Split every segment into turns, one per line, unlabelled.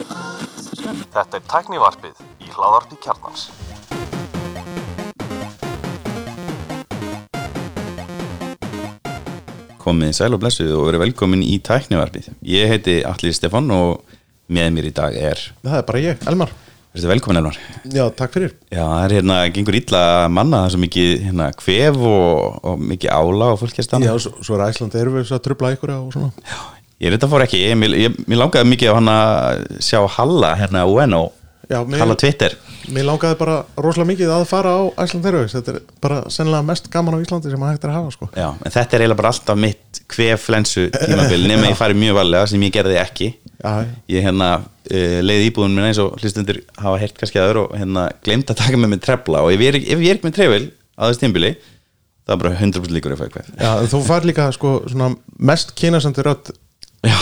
Þetta er tæknivarpið í hláðarpi kjarnans.
komið sæl og blessuð og verið velkomin í tæknivarpið. Ég heiti Allir Stefán og með mér í dag er
Það er bara ég, Elmar
Verður velkomin Elmar.
Já, takk fyrir
Já, það er hérna, gengur illa að manna það svo mikið hérna, kvef og, og mikið ála og fólk hér stanna.
Já, svo, svo er Æsland Airways að trubla ykkur og svona
Ég reynda fór ekki, ég, mér, ég, mér langaði mikið á hann að sjá Halla hérna á UNO,
Já, mér-
Halla Twitter.
Mér langaði bara rosalega mikið að fara á Æsland Airways Þetta er bara sennilega mest gaman á Íslandi sem að hægt er að hafa sko.
Já, en þetta er eiginlega bara alltaf mitt kvefflensu tímabil nema ég fari mjög varlega sem ég gerði ekki
Já.
ég hérna uh, leiði íbúðunum minna eins og hlustundur hafa heyrt kannski aður og hérna glemt að taka með mér trefla og ef ég er, ef ég er ekki með trefil á þessu tímabili það er bara 100% líkur að fæða kveff
Já, en þú fær líka sko, svona, mest kynasendur rödd
Já,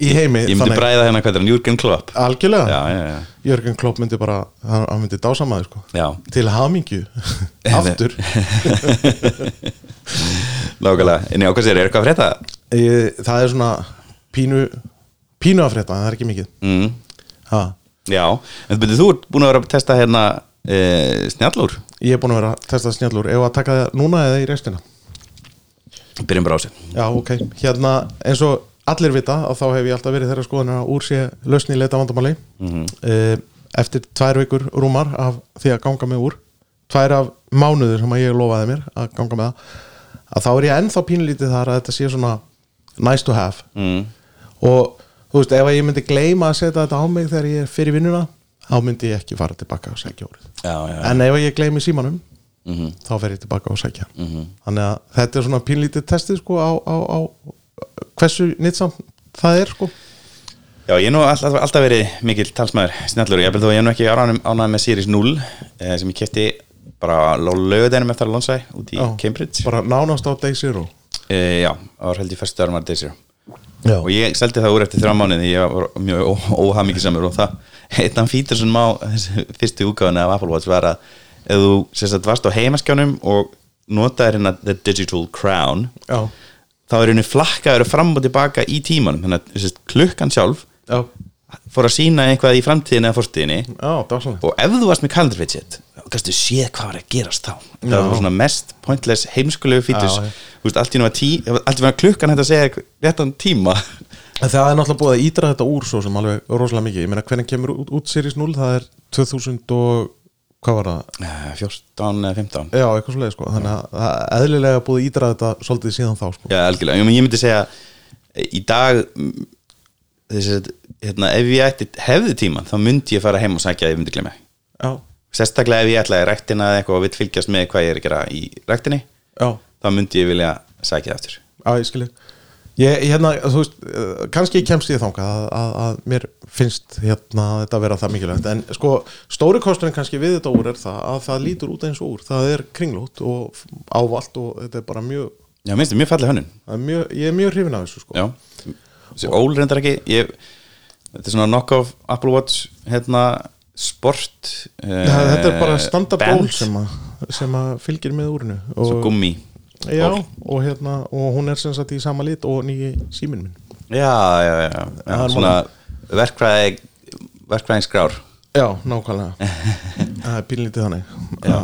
í heimi
ég myndi bræða hérna hvað er hann, Jürgen Klopp
Algjörlega
Já, já, já.
Jörgen Klopp myndi bara, hann, hann myndi dásamaði sko.
Já.
Til hamingju Aftur
Lákala, en já, hvað sér, er eitthvað að frétta?
ég, Það er svona pínu Pínu að frétta, en það er ekki mikið
Mm.
ha,
Já, en byrju, þú ert búin að vera að testa hérna uh, snjallúr
Ég er búin að vera að testa snjallur Ef að taka það núna eða í restina
Byrjum bara á sér
Já, ok, hérna eins og allir vita að þá hef ég alltaf verið þeirra skoðunar að úr sé lausn í leita vandamáli eftir tvær vikur rúmar af því að ganga með úr tvær af mánuður sem að ég lofaði mér að ganga með það að þá er ég ennþá pínlítið þar að þetta sé svona nice to have
mm.
og þú veist, ef að ég myndi gleyma að setja þetta á mig þegar ég er fyrir vinnuna þá myndi ég ekki fara tilbaka og segja árið
Já, já, Mhm.
en ef að ég gleymi símanum þá fer ég tilbaka og sækja þannig að þetta er svona pínlítið testið sko á, á, á hversu nýtsamt það er sko
Já, ég er nú alltaf, alltaf verið mikill talsmaður snjallur, ég byrði þó að ég er nú ekki ánægð ánægð með Series 0 eh, sem ég kefti bara lögudænum eftir að lónsæ út í
Já.
Cambridge
bara nánast á day zero
eh, Já, það var held ég fyrstu örmar Desir
já,
og ég seldi það úr eftir þrjá mánuði ég var mjög óhamikið samur og það eittan fítur sem má þessi fyrstu úgáðuna af Apple Watch var að ef þú sérstætt varst á heimaskjánum og notaðir hérna The Digital Crown
já,
þá er henni flakkaður fram og tilbaka í tímanum þannig að sérst, klukkan sjálf
já,
fór að sína eitthvað í framtíðinni eða fórtíðinni
já það var svona
og ef þú varst með calendar widget þá kannstu séð hvað var að gerast þá það var svona mest pointless heimskulegu fítus
Já, já.
þú veist, allt í nú að tí, allt í nú að klukkan hægt að segja réttan tíma
en það er náttúrulega búið að ídra þetta úr svo sem alveg rosalega mikið, ég meina hvernig kemur út, út series 0, það er 2000 og hvað var það,
Eh, 14 eða 15
já, eitthvað svoleið sko þannig að það er eðlilega búið að ídra þetta svolítið síðan þá sko,
já, algjörlega, ég meina, ég myndi segja eh, í dag mm, þessi, hérna, ef ég ætti, hefði tíma þá myndi ég fara heim og sækja að ég myndi glemja
já,
sérstaklega ef ég ætlaði í ræktina eða eitthvað og vill fylgjast með hvað ég er að gera í ræktinni
já
þá myndi ég vilja sækja það aftur
Já, ég skilji Ég, hérna, þú veist, eh, kannski kemst ég þangað að, að, að mér finnst hérna þetta vera það mikilvægt en sko, stóri kosturinn kannski við þetta úr er það að það lítur út eins og úr, það er kringlót og ávalt og þetta er bara mjög,
já, minnst þið mjög fallið hönnun
það er mjög ég er mjög hrifin af þessu sko
Já, þessi ól reyndar ekki ég, Þetta er svona knock-off Apple Watch hérna, sport eh,
það, Þetta er bara standard
band,
ból sem, að- sem að fylgir með úrinu
Svo
og,
gummi
já,
ból.
og hérna, og hún er sem sagt í sama lit og nýji síminn minn
Já, já, já, já,
Það er
Svona verkfræði verkfræðin skrár
Já, nákvæmlega Það er pínlítið þannig Já.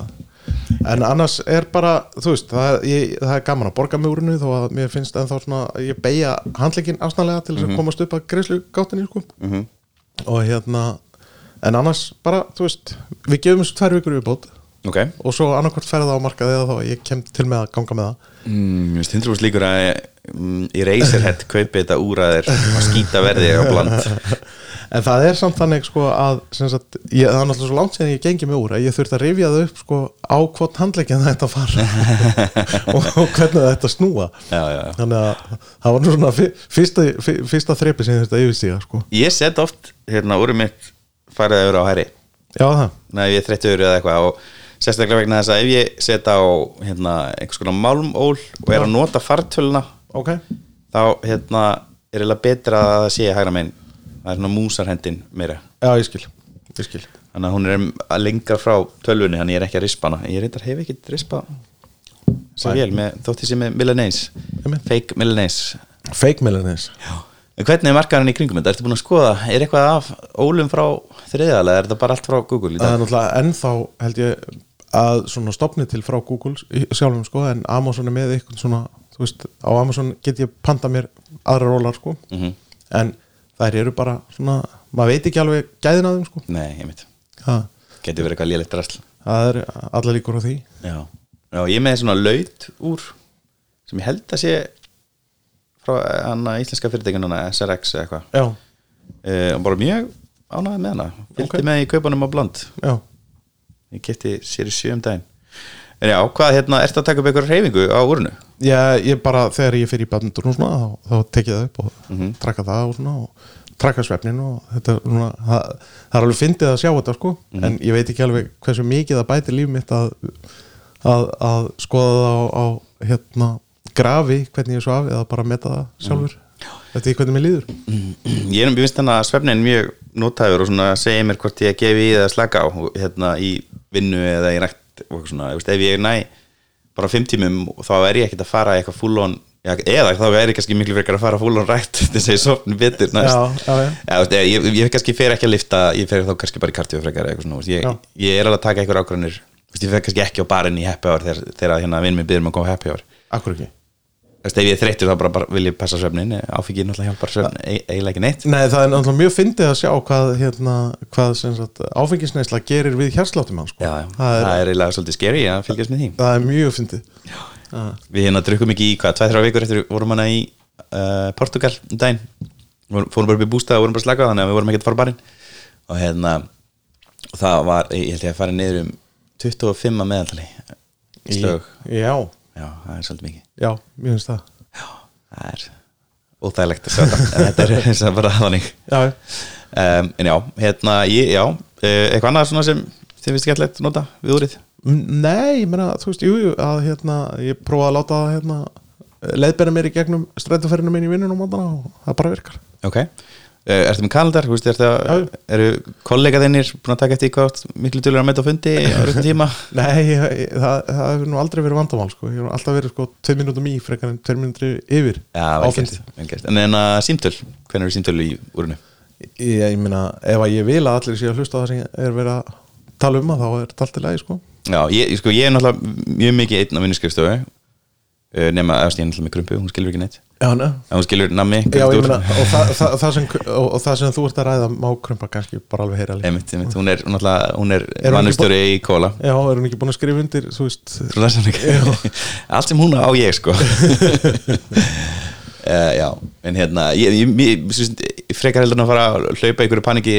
En annars er bara, þú veist það, er- ég, það er gaman að borga með úrinu þó að mér finnst ennþá svona, ég beigja handleikin afsnalega til þess að komast upp að greiðslu gáttinni sko. -hmm. og hérna en annars bara, þú veist við gefum þessu tvær vikur viðbót
Ok,
og svo annarkvort ferða á markaði eða þá að ég kem til með að ganga með það
mm, ég stundur úr slíkur að mm, í Razerhead kaupi þetta úr að þér að skýta verði á bland
En það er samt þannig sko að sem sagt, ég, það er náttúrulega svo langt síðan ég gengi mig úr að ég þurfti að rifja það upp sko á hvort handleikin þetta fara og, og hvernig þetta snúa
Já, já, já
þannig að það var nú svona fyr- fyrsta, fyr- fyrsta þrepi sem ég þurfti að yfirstíga sko
Ég set oft, hérna, úr mitt farið yfir á hæri
Já það,
Nei, ef ég er þreyttur eða eitthvað og sérstaklega vegna þess að ef ég setja á hérna, einhvers konar málmól og er að nota fartöluna
ok
þá hérna, er eiginlega betra að það sé hægra megin það er svona músarhendin meira
Já ég skil, ég skil
þannig að hún er að lengra frá tölvunni þannig að ég er ekki að rispa hana ég reyndar hef ekki rispa sem
Nei.
vel með, þótti sem með Milanese
Einmitt.
fake Milanese
Fake millennials
Já. En hvernig er markaðurinn í kringum þetta? Ertu búin að skoða, er eitthvað af ólum frá þriðalega, er þetta bara allt frá Google í
það
dag?
er náttúrulega ennþá held ég að svona stopni til frá Google í- sjálfum sko en Amazon er með eitthvað svona þú veist á Amazon get ég panta mér aðra rólar sko en þær eru bara svona maður veit ekki alveg gæðin að þeim sko
Nei, ég mitt,
ha,
getur verið eitthvað lélegt drasl
það er allar líkur á því
Já, Já ég er með svona laut úr sem ég held að sé frá eh, hana íslenska fyrirtækjununa SRX eða eitthvað
já,
e, og bara mjög ánægði með hana fylgdi
Ok.
með í kaupunum á blond
já
ég kefti sér í sjö um daginn en já, hvað hérna, ertu að taka upp einhverja reyfingu á úrinu?
ég, ég bara þegar ég fyrir í badminton og svona þá, þá tek ég það upp og
Mhm.
trakka það og svona og trakka svefnin og þetta er svona, það, það er alveg fyndið að sjá þetta sko
Mhm.
en ég veit ekki alveg hversu mikið það bætir líf mitt að, að, að skoða það á, á hérna grafi hvernig ég svo af eða bara meta
Mhm.
það sjálfur þetta er hvernig mér líður
Ég er um, ég finnst þannig að svefnin mjög nótæfur og svona segir mér hvort ég gefi í eða slaka á og hérna í vinnu eða í rætt og eitthvað svona, Þú veist, ef ég næ bara fimm tímum þá er ég ekkert að fara í eitthvað fullon eða þá er ég kannski miklu frekar að fara fullon rætt til þess að ég sofni betur næst
Já, já, já.
Já, þú veist, ég, ég, ég kannski fer ekki að lifta ég fer þá kannski bara í kartíu frekar eða eitthvað svona, þú veist,
Já.
ég, ég er alveg að taka einhver ákvörðunir Þú veist, ég fer kannski ekki á barinn í happy hour þegar, þegar hérna vinn minn byrðum að koma á happy hour
Akkur ekki
Þú veist, ef ég er þreyttur þá bara, bara vil ég passa svefnin áfengið náttúrulega hjálpar svefn e- eiginlega ekki neitt
Nei, það er náttúrulega mjög fyndið að sjá hvað, hérna, hvað sem sagt, áfengisneisla gerir við hjarsláttum hans sko.
Já, já,
það, er,
það er eiginlega svolítið scary að fylgjast með því
það er mjög fyndið
Við hérna drukkum ekki í hvað, tveið þrjá vikur eftir vorum hana í uh, Portugal um daginn Vorum- fórum bara upp í bústað og vorum bara slakað þannig að við vorum ekki að fara á barinn og hérna og það var, ég held ég að fara niður um 25 að meðaltali
Í-
slög,
Já,
já, það er svolítið mikið
já, mér finnst það
já, það er óþægilegt að sjá þetta en þetta er eins og bara þannig
Já,
um, en já, hérna, ég, já eh, eitthvað annað svona sem þið finnst gætlegt nota við úrið
M- nei, ég meina, þú veist, jú, jú að hérna, ég prófaði að láta það hérna leiðberða mér í gegnum strætóferðinu minn í vinnunum á mótana og það bara virkar
Ok, uh, ertu með kalendar, þú veist, ertu að, eru kollega þennir búin að taka eftir í hvað þú átt miklu tölur að mæta á fundi á röndum tíma?
Nei, ég, ég, það, það hefur nú aldrei verið vandamál sko. ég hef nú alltaf verið sko 2 mínútum í frekar en 2 mínútur yfir
Já,
á
vel
fundi.
gert, vel gert. En en að símtöl, hvernig eru símtöl í úrinu?
Ég, ég meina, ef að ég vil að allir sé að hlusta á það sem ég er verið að tala um að þá er þetta allt í lagi sko
Já, ég, ég sko, ég er náttúrulega mjög mikið einn á vinnuskrifstofu uh, nema, eftir ég er náttúrulega með krumpu, hún skilur ekki neitt
Já, ne?
en hún skilur nammi,
Já, ég
krumpudur.
meina, og það, það, það sem, og, og það sem þú ert að ræða má krumpa kannski bara alveg heyra líka
Einmitt, einmitt, hún er náttúrulega, hún er,
Er
er
hún ekki
vannustjóri í kóla
Já, er hún ekki búin að skrifa undir, þú veist
Þú lesa hann ekki Allt sem hún á á ég sko uh, Já, en hérna ég, ég, ég, ég, ég frekar heldur en að fara að hlaupa í einhverju paniki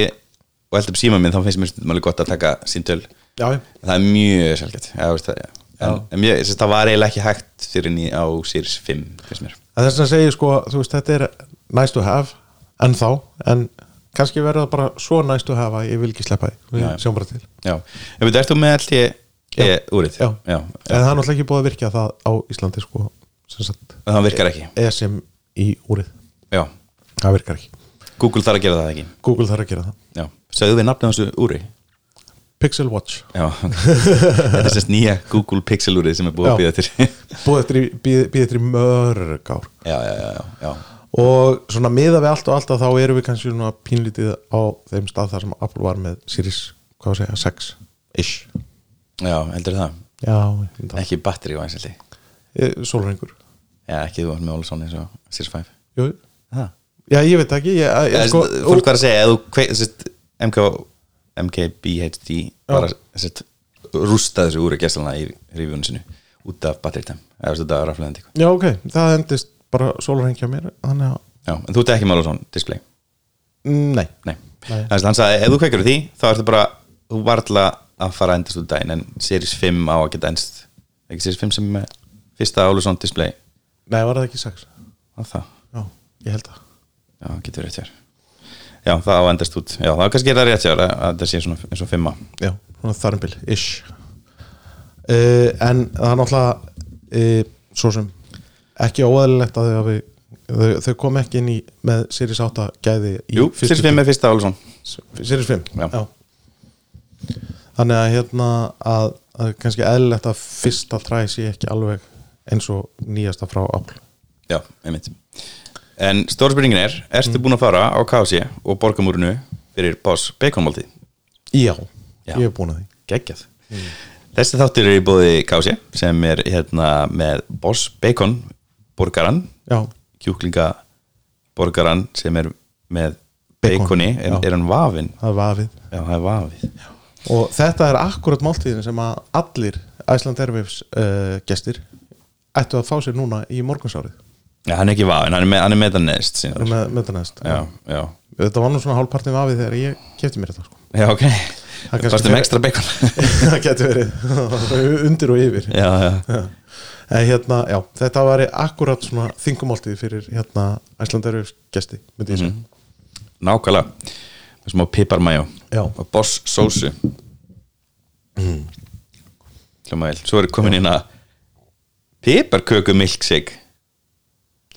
og heldur upp síma minn, þá finnst mér stundum alveg gott að taka síntöl
Já, já
Það er mjög sjálfgætt Já, veist það, já. En, en mjög, sérst, það var eiginlega ekki hægt fyrir henni á Sirius 5, finnst mér
að þess að segja sko, þú veist, þetta er nice to have, en þá en kannski verður það bara svo nice to have að ég vil ekki sleppa því,
Já, já.
við sjáum bara til
Já, en veit, ertu með allt ég, ég úrið?
já.
já,
en það er náttúrulega ekki búið að virka það á Íslandi sko, sem sagt,
En það virkar ekki
ESM í úrið
Já,
það virkar ekki,
Google þarf að gera það ekki
Google þarf að gera það
Já, sögðu við nafnum þessu úri?
Pixel Watch,
Já, þetta er sérst nýja Google Pixel úrið sem er búið að
Já.
býða til Já,
búið eftir, í- bíð, bíð eftir í mörg ár
já, já, já, já.
og svona miða við allt og allt að þá erum við kannski svona pínlítið á þeim stað þar sem Apple var með Series, hvað að segja, 6 ish,
já heldur það
já, ég-
Ekki batteri og einselti
ég- sólrengur
Já, ekki þú varst með Olsson eins og Series 5
jú,
Það
Já, ég veit það ekki ég, ég,
Eða,
sko,
sko, Fólk var að segja, eða þú kveik, sérst MK, MKBHD bara, sérst, rústa þessu úr að gestalna í revíunum sinu út af batteritæm, eða þetta er rafleðandi eitthvað.
Já, ok, það endist bara sólurhengja mér Þannig að,
Já, en þú ert ekki með Olsson display
Mm,
Nei,
nei Nei.
þannig að hann sagði ef þú kveikir á því, þá ertu bara þú varla að fara að endast út daginn en Series 5 á að geta endast ekki Series 5 sem er með fyrsta Álusson display
Nei, var það ekki sex
að það,
Já, ég held það
já, getur rétt hér já, það á að endast út, já, þá kannski er það rétt hér að að þetta sé svona eins og 5
Já, svona þarumbil, ish uh, En það er náttúrulega uh, Svo sem Ekki óæðilegt að þau hafi Þau, þau kom ekki inn í með Series 8 gæði í
Jú,
fyrstu-
Series 5 er fyrsta Álusson
Series 5
Já.
Þannig að hérna að, að kannski eðlilegt að fyrsta træ sé ekki alveg eins og nýjasta frá Apple
já, einmitt En stóra spurningin er,
Mm.
ertu búin að fara á KFC og borgamúrinu fyrir bás baconmáltíð?
Já,
Já.
ég hef búin að því
geggjað þessi þáttur er í bóði Kási sem er hérna með Boss Bacon borgaran,
Já,
kjúklinga borgaran sem er með
Bacon,
baconi, er,
já.
er hann vafin
það er vafið
já, það er vafið
Og þetta er akkurat máltíðin sem að allir Æsland Airwaves uh, gestir ættu að fá sér núna í morgunsárið
já, hann er ekki vafin, hann er með, hann er með það neðst sínar.
með, með það næst
já, já,
Þetta var nú svona hálfpartin vafið þegar ég kefti mér þetta sko.
já, ok
Það kannski
fannst um
fer-
ekstra bacon
Það getur verið undir og yfir
já, já,
en, hérna, já, Þetta var akkurat svona þingumáltíð fyrir hérna, Æsland Airwaves gesti myndi ég segja
nákvæmlega með smá piparmæjó
Já.
og Boss sósu hljómaðil, svo er komin inn að piparköku milkshake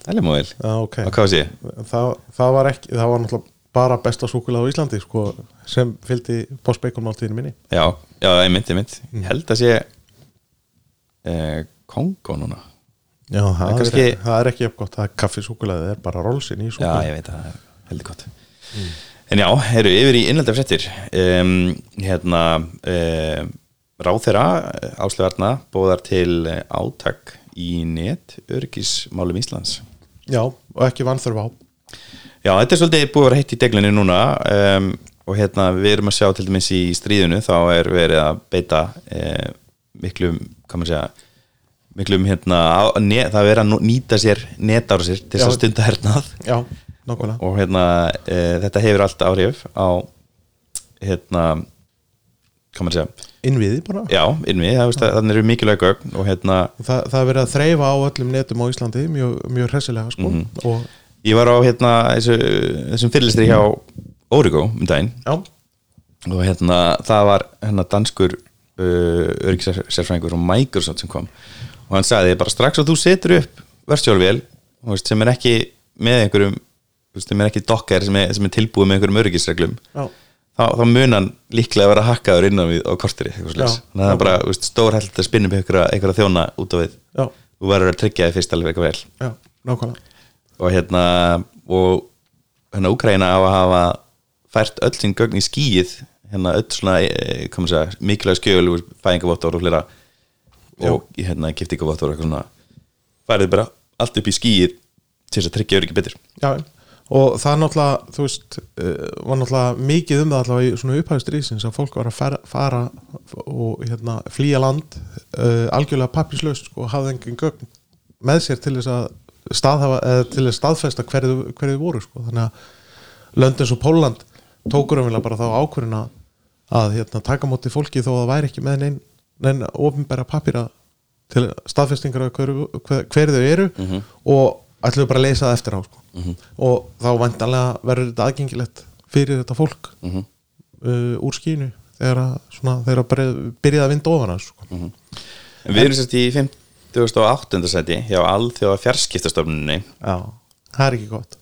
það er móðil
Já, ok
og hvað sé ég?
það, það var ekki, það var náttúrulega bara besta súkulega á Íslandi sko, sem fylgdi postbeikonmáltíðinu minni
Já, já, einmitt, einmitt
Mm.
Ég held að sé eh, Kongo núna
Já, það, er,
kannski-
ekki, það er ekki jafn gott það er kaffisúkulega, það er bara rollsin í
Já,
súkulega
ég veit að það er heldur gott En já, eru yfir í innlendafréttir um, Hérna um, eh, Ráþera Áslöfarna bóðar til eh, átak í net örgismálum Íslands
Já, og ekki vannþörf á
Já, þetta er svolítið búið að vera heitt í deglunni núna um, og hérna við erum að sjá til dæmis í stríðinu þá er verið að beita eh, miklum, hvað maður segja miklum hérna á, ne, það er verið að nú- nýta sér netára sér til þess
Já.
að stunda hernað
Já, nákvæmlega
og hérna e, þetta hefur allt áhrif á hérna hvað maður segja,
Innviði bara
já, innvi það, veist, að- þannig eru mikilvæg gögn og hérna
Það, það er verið að þreifa á öllum netum á Íslandi mjög, mjög hressilega sko. og,
ég var á hérna þessu, þessum fyrirlistri hjá Origo um daginn
Já,
og hérna það var hérna danskur uh, öryggisérfræðingur frá Microsoft sem kom og hann sagði bara strax að þú setur upp verstjálfvél þú veist, sem er ekki með einhverjum þú veist, sem er ekki dokkar sem er, sem er tilbúið með einhverjum öryggisreglum
já,
þá, þá mun hann líklega vera hakkaður innan við á korteri eitthvað svoleiðis.
Já,
þannig að það er bara þú veist, stór held að spinna upp einhverja, einhverja þjóna út á við
já,
þú verður að tryggja þig fyrst alveg eitthvað vel
já, nákvæmlega
og hérna og hérna Úkraina á að hafa fært öll sín gögn í skýið hérna öll svona e, e, segja, mikilvæg skjöl úr fæðingavottor og fleira og hérna giftingavottor og eitthvað svona færið bara allt upp í skýið til þess að tryggja öryggi betur
Já, og það er náttúrulega þú veist, uh, var náttúrulega mikið um það allavega í svona upphæðu stríðsins að fólk var að fara, fara og hérna, flýja land uh, algjörlega pappislaust sko, og hafði engin gögn með sér til þess að staðhafa, eða til þess staðfesta hverju hver þau voru sko. þannig að Londons og Póland tókur umvilega bara þá ákvörðina að hérna, taka á móti fólki þó að það væri ekki með neinn nein ofinbæra pappira til staðfestingar af hverju hver, hver þau eru og ætlum bara að leysa það eftir á sko. og þá vantanlega verður þetta aðgengilegt fyrir þetta fólk uh, úr skínu þegar að, svona, þegar að byrja- byrjaði að vinda ofan að sko.
en við erum sérst í 58. seti hjá alþjóða fjarskiptastofnunni
já, það er ekki gott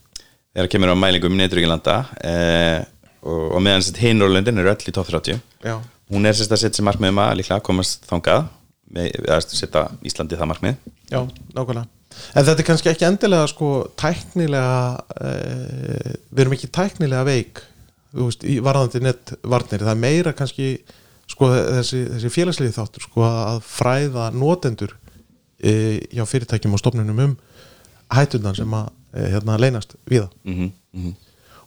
þegar kemur á mælingum í Neitrygginlanda eh, og, og meðan sérst hinrólöndin eru öll í top 30
já,
hún er sérst að setja sér markmið um að líklega komast þangað með, að setja Íslandi það markmið
já, nákvæmlega en þetta er kannski ekki endilega sko tæknilega uh, við erum ekki tæknilega veik þú veist, í varðandi nettvarnir það er meira kannski sko þessi, þessi félagslegi þáttur sko að fræða notendur uh, hjá fyrirtækjum og stofnunum um hættundan sem að uh, hérna leynast við það
mm -hmm.
mhm.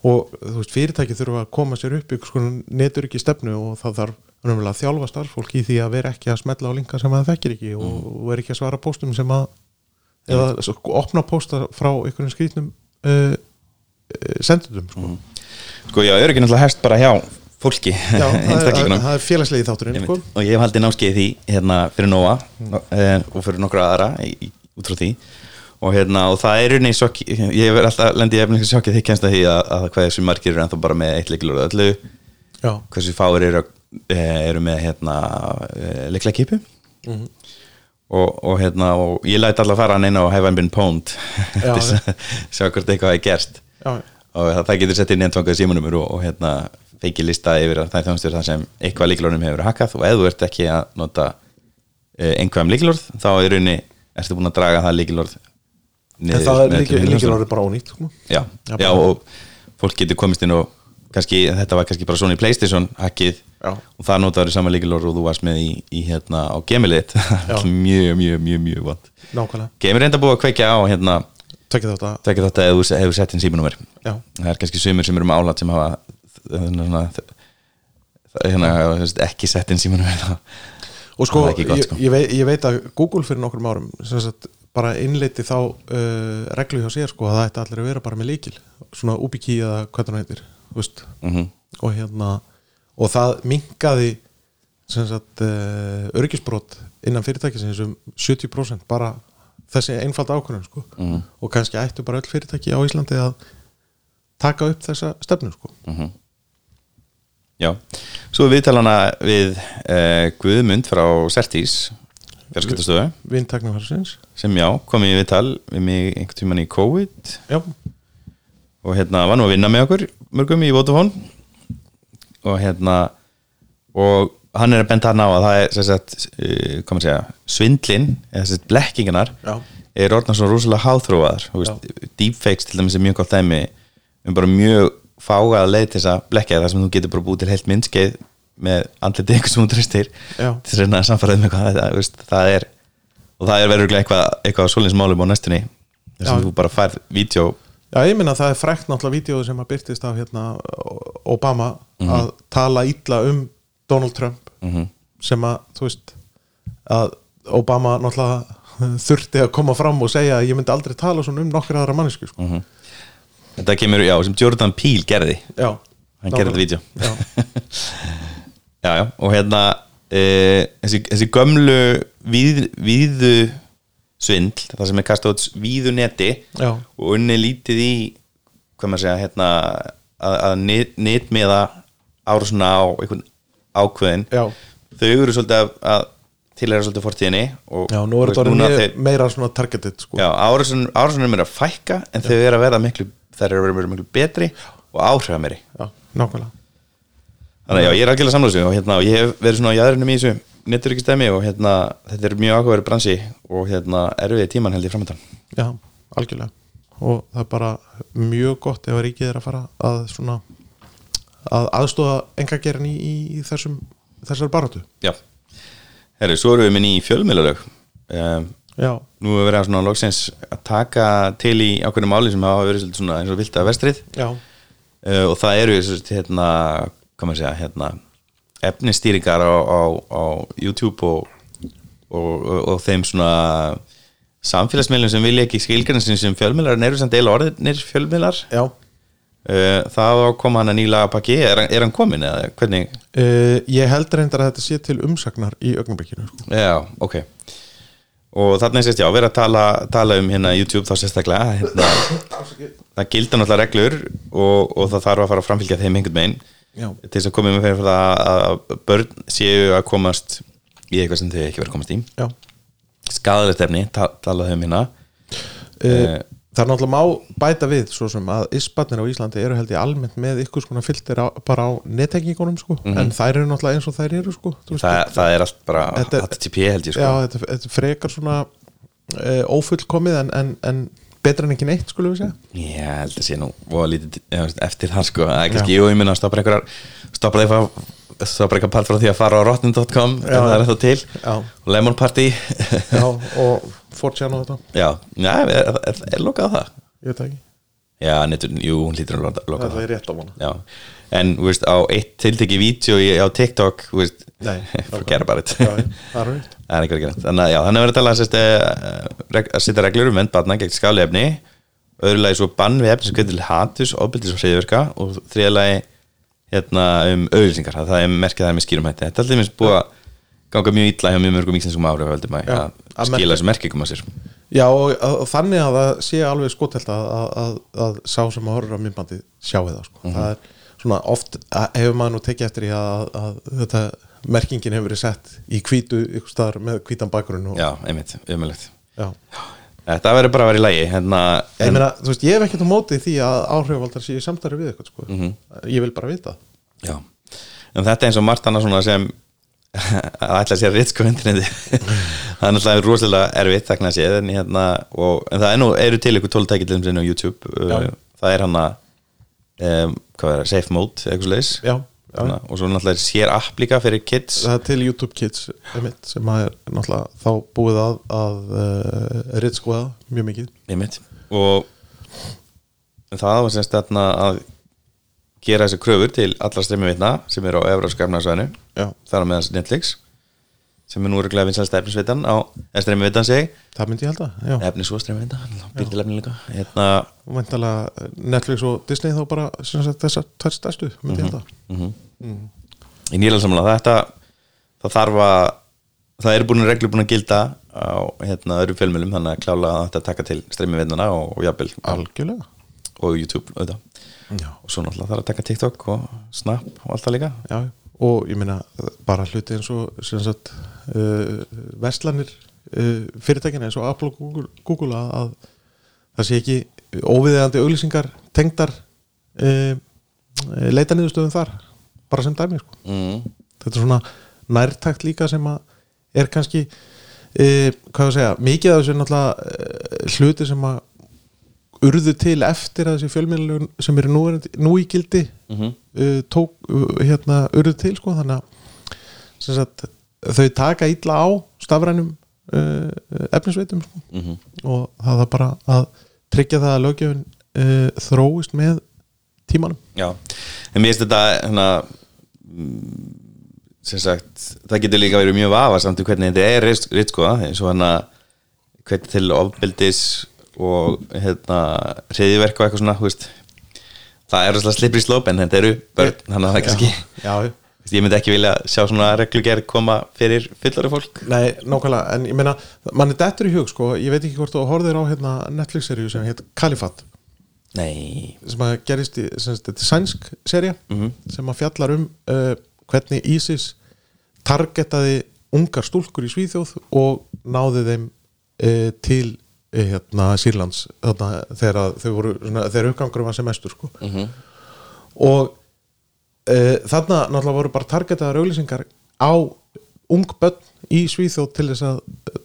og þú veist, fyrirtæki þurfa að koma sér upp ykkur sko netur ekki stefnu og það þarf raunverulega að þjálfa starffólk í því að vera ekki að smetla á linka sem það þekkir ekki og,
Mm.
og vera ekki að svara póstum sem að eða svo, opna pósta frá ykkurinn skrýtnum uh, uh, sendundum sko.
Sko já, öryggi náttúrulega hefst bara hjá fólki
Já, það, er, það,
einstaklingunum
það er félagslegi þátturinn sko.
og ég hef haldið námskeið í því hérna fyrir Nóa
Mm.
eh, og fyrir nokkra aðra í, í- út frá því og hérna og það er unni sjokki ég verð alltaf lendið efnilegt sjokki því kennst að því að, að hvað þessu margir eru ennþá bara með eitt leikilur öllu
Já,
hversu fáir eru, eh, eru með hérna, leikla kipu
Mhm.
og, og hérna og ég læt alltaf fara hann inn á Heaven Been Pwned
Já,
til þess að sjá hvort eitthvað er gerst
já,
og það, það getur sett inn eintvangað símanumur og, og hérna feiki lista yfir þær þjónstur þar sem eitthvað líkilorðum hefur verið hakkað og ef þú ert ekki að nota eh, einhverjum líkilorð þá er raunni, ertu búin að draga það líkilorð
en
niður
það er
með
líkil,
öllum
líkil
hinum
orðið bara ónýtt sko.
já,
Já,
já, og fólk getur komist inn og kannski, þetta var kannski bara Sony Playstation hackið
Já.
og það notaður í sama líkilor og þú varst með í, í hérna á gemilið mjög, mjög, mjög, mjög vant
nákvæmlega,
Gemir reynda búið að kveikja á hérna
tvekja þetta
tvekja þetta ef þú hefur sett inn símanúmer
Já.
það er kannski sumir sem eru með álat sem hafa hérna, hérna, hérna, þú veist, ekki sett inn símanúmer
og sko,
Það er ekki gott,
ég,
sko.
Ég, veit, ég veit að Google fyrir nokkrum árum sem sagt, bara innleiti þá uh, reglu hjá sér sko að það ætti allir að vera bara með líkil svona UbiKey eða hvað það heitir þú veist,
Mhm.
og hérna og það minkaði sem sagt uh, örgisbrot innan fyrirtækisins um 70% bara þessi einfalda ákvörðun sko
Mm.
og kannski ættu bara öll fyrirtæki á Íslandi að taka upp þessa stefnu sko
Mm. Já, svo er viðtalana við uh, Guðmund frá Sertís fjarskiptastöðu
vinn teknifarsins
sem já, kom í viðtal við mig einhvern tíman í COVID
já,
og hérna var nú að vinna með okkur mörgum í Vodafone og hérna og hann er að benda hann á að það er sem sagt, eh, hvað maður segja, svindlin eða sem sagt blekkingarnar
Já.
er orðnar svo rosalega háþróaðar þú veist, deepfakes til dæmis er mjög gott dæmi um bara mjög fágaða leið til þess að blekja þar sem þú getur bara búið til heilt myndskeið með andlitið einhvers sem þú tristir
Já.
til þess að samfæraðum eitthvað þetta, þú veist, það er og það er verður eitthvað, eitthvað svolins málum á næstunni þar sem
Já.
þú bara færð vídeo
Já, ég minna að það er frækt náttúrulega vídeo sem að byrtist af hérna Obama
Mhm.
að tala illa um Donald Trump sem að, þú veist að Obama náttúrulega þurfti að koma fram og segja að ég myndi aldrei tala svona um nokkur aðra mannesku sko.
Mhm. Þetta kemur, já, sem Jordan Peele gerði
Já,
Hann gerði þetta vídeo
Já,
Já, já, og hérna e, þessi, þessi gömlu víð, víðu svindl, það sem er kastað út víðu neti
Já.
og unni lítið í hvað maður segja, hérna að, að net, netmiða árásuna á einhvern ákveðin
Já.
þau eru svolítið að, að tilhæra svolítið fortíðinni og
já nú er
og
þetta orðið
núna
mjög-
þeir-
meira svona targeted sko.
Já, árásunum, árásunum er að fækka en þau eru að vera miklu, þær eru að vera miklu betri og áhrifa meiri
Já, nákvæmlega
Þannig að já, ég er algjörlega samlega og hérna, og ég hef verið svona á jæðurinnum í þessu netturíkistæmi og hérna, þetta er mjög ákveður bransi og hérna, erfiði tíman held ég framöndan.
Já, algjörlega og það er bara mjög gott ef að ríkið er að fara að svona að aðstóða engagerin í, í þessum, þessar baratu
Já. Herri, svo erum við minni í fjölmiðlalög. Um,
Já,
nú hefur verið að svona loksins að taka til í ákveðinu máli sem hafa verið svolítið svona eins og vilt að vestrið
já,
uh, og það eru svo, hérna, hvað maður segja, hérna, efnistýringar á, á, á YouTube og, og, og, og þeim svona samfélagsmiðlum sem vilja ekki skilgjarnasinn sem fjölmiðlar en eru samt deila orðinir fjölmiðlar
já.
uh, það á að koma hann að nýla pakki er, hann- er hann komin eða hvernig
Uh, ég held reyndar að þetta sé til umsagnar í augnablikinu sko.
já, ok og þarna er sérst já, við erum að tala, tala um hérna YouTube þá sérstaklega hérna, það gilda náttúrulega reglur og, og það þarf að fara að framfylgja þeim einhvern veginn
Já.
til þess að komið með fyrir það að börn séu að komast í eitthvað sem þau ekki verið að komast í
Já.
skadalegt efni, ta talaðu um hérna
Uh, það er náttúrulega má bæta við svo sem að isbarnir á Íslandi eru held ég almennt með ykkur skona filter á, bara á nettengingunum sko. en þær eru náttúrulega eins og þær eru sko. Þú veist,
það, það er allt bara
Þetta-
HTTP held ég sko
Já, þetta, þetta frekar svona uh, ófullkomið en, en, en betra en ekki neitt skulum við segja
Ég held að sé nú voða lítið eða, veist, eftir það sko, það er kannski jú, ég minna að stoppar einhverjar stoppar eitthvað stoppar eitthvað pall frá því að fara á rotten.com ef það er þetta til
Já.
og lemon party
Já, og fórtjána þetta,
já, já, er, er, er, er lokað það
ég veit það ekki
já, netur, jú, hún lítur að loka- loka
Það
það
er rétt á hana
já, en þú veist, á eitt tiltekki vídeo í- á TikTok, þú veist
Nei,
forget about it
Já, já, það er rétt
Það er einhver ekki Þannig að já, þannig að vera að tala sérst, eh, reg- að setja reglur um vend barna gegn skáli efni öðrulegi svo bann við efni sem getur til hatus, ofbeldis og hriðverka og þriðalegi hérna, um auðlýsingar það það er merkið það með skýrum hætti Þetta er alltaf búið að ganga mjög illa hjá mjög mörgum íslenskum áhrifaldum að,
Já, að
að skila þessu merkingum að sér
Já og að, og þannig að það sé alveg skotelt að, að, að, að sá sem að horfður á myndbandi sjáu það sko. það er svona oft að- hefur maður nú tekið eftir í að, að þetta merkingin hefur verið sett í hvítu ykkur staðar með hvítan bakgrunn og,
Já, einmitt, umjulegt
Já.
Þetta verður bara að vera í lagi hérna,
Ég, meina, þú veist, ég hef ekkert á móti því að áhrifaldar séu í samtæri við eitthvað sko. ég vil bara vita
Já, en þetta er eins og margt annað svona sem að ætla að sé að ritsko interneti það er náttúrulega rosalega erfitt þakna sé en, hérna, og, en það er nú, eru til ykkur tóltækilum sinni á YouTube
Já.
uh, það er hann að um, hvað er það, safe mode eitthvað slags
Já, já.
og svo náttúrulega er sér app líka fyrir kids
það er til YouTube Kids einmitt, sem að er náttúrulega þá búið að, að uh, ritskoða mjög mikið
einmitt og það var semst þarna að gera þessi kröfur til alla streymiveitna sem eru á Evrópska efnarsvæðinu
Já.
þar á meðan Netflix sem er nú örgulega vinsalst efnisveitan á streymiveitans sig
það myndi ég held að, já,
efnis og streymiveita, býrtil efni líka hérna,
og væntalega eh, Netflix og Disney þá bara sem sagt, þessar tvær stærstu, myndi ég held að
mhm.
Mhm.
í nýlansamlega þetta það þarf að það eru búin reglur búin að gilda á hérna, öðrum fjölmjölum þannig að klála að þetta taka til streymiveitnana og, og jafnvel
algjörlega
og YouTube auðvitað
já.
og svo náttúrulega þarf að taka TikTok og Snap og allt það líka
Já, og ég meina bara hluti eins og sem sagt, uh, verslanir uh, fyrirtækina eins og Apple og Google, Google að, að það sé ekki óviðeðandi auglýsingar tengdar uh, leita niðurstöðum þar bara sem dæmi sko.
mm.
þetta er svona nærtakt líka sem að er kannski uh, hvað ég að segja, mikið af þessu er náttúrulega uh, hluti sem að urðu til eftir að þessi fjölmiðlun sem eru nú, nú í gildi
Mhm.
uh, tók uh, hérna urðu til sko þannig að sem sagt, þau taka illa á stafrænum uh, efnisveitum sko.
Mhm.
og það er bara að tryggja það að lögjöfin uh, þróist með tímanum
Já, en mér finnst þetta hana, sem sagt, það getur líka verið mjög vafa samt í hvernig þetta er rit- ritskoða eins og hana hvernig til ofbeldis og hérna hriðiverk og eitthvað svona, þú veist það er rosalega slippery slope en þetta eru börn, þannig að það er kannski
já, já.
ég myndi ekki vilja sjá svona reglugerð koma fyrir fullari fólk
Nei, nákvæmlega, en ég meina mann er dettur í hug sko, ég veit ekki hvort þú horfðir á hérna, Netflix-seríu sem heit Kalifat
Nei,
sem að gerist í sem sagt, þetta er sænsk serja sem að fjallar um uh, hvernig ISIS targetaði ungar stúlkur í Svíþjóð og náði þeim uh, til uh, hérna, Sýrlands þarna, þegar að þau voru svona, þegar uppgangur var sem mestur sko. og uh, þarna náttúrulega voru bara targetaðar auglýsingar á ung börn í Svíþjóð til þess að eh,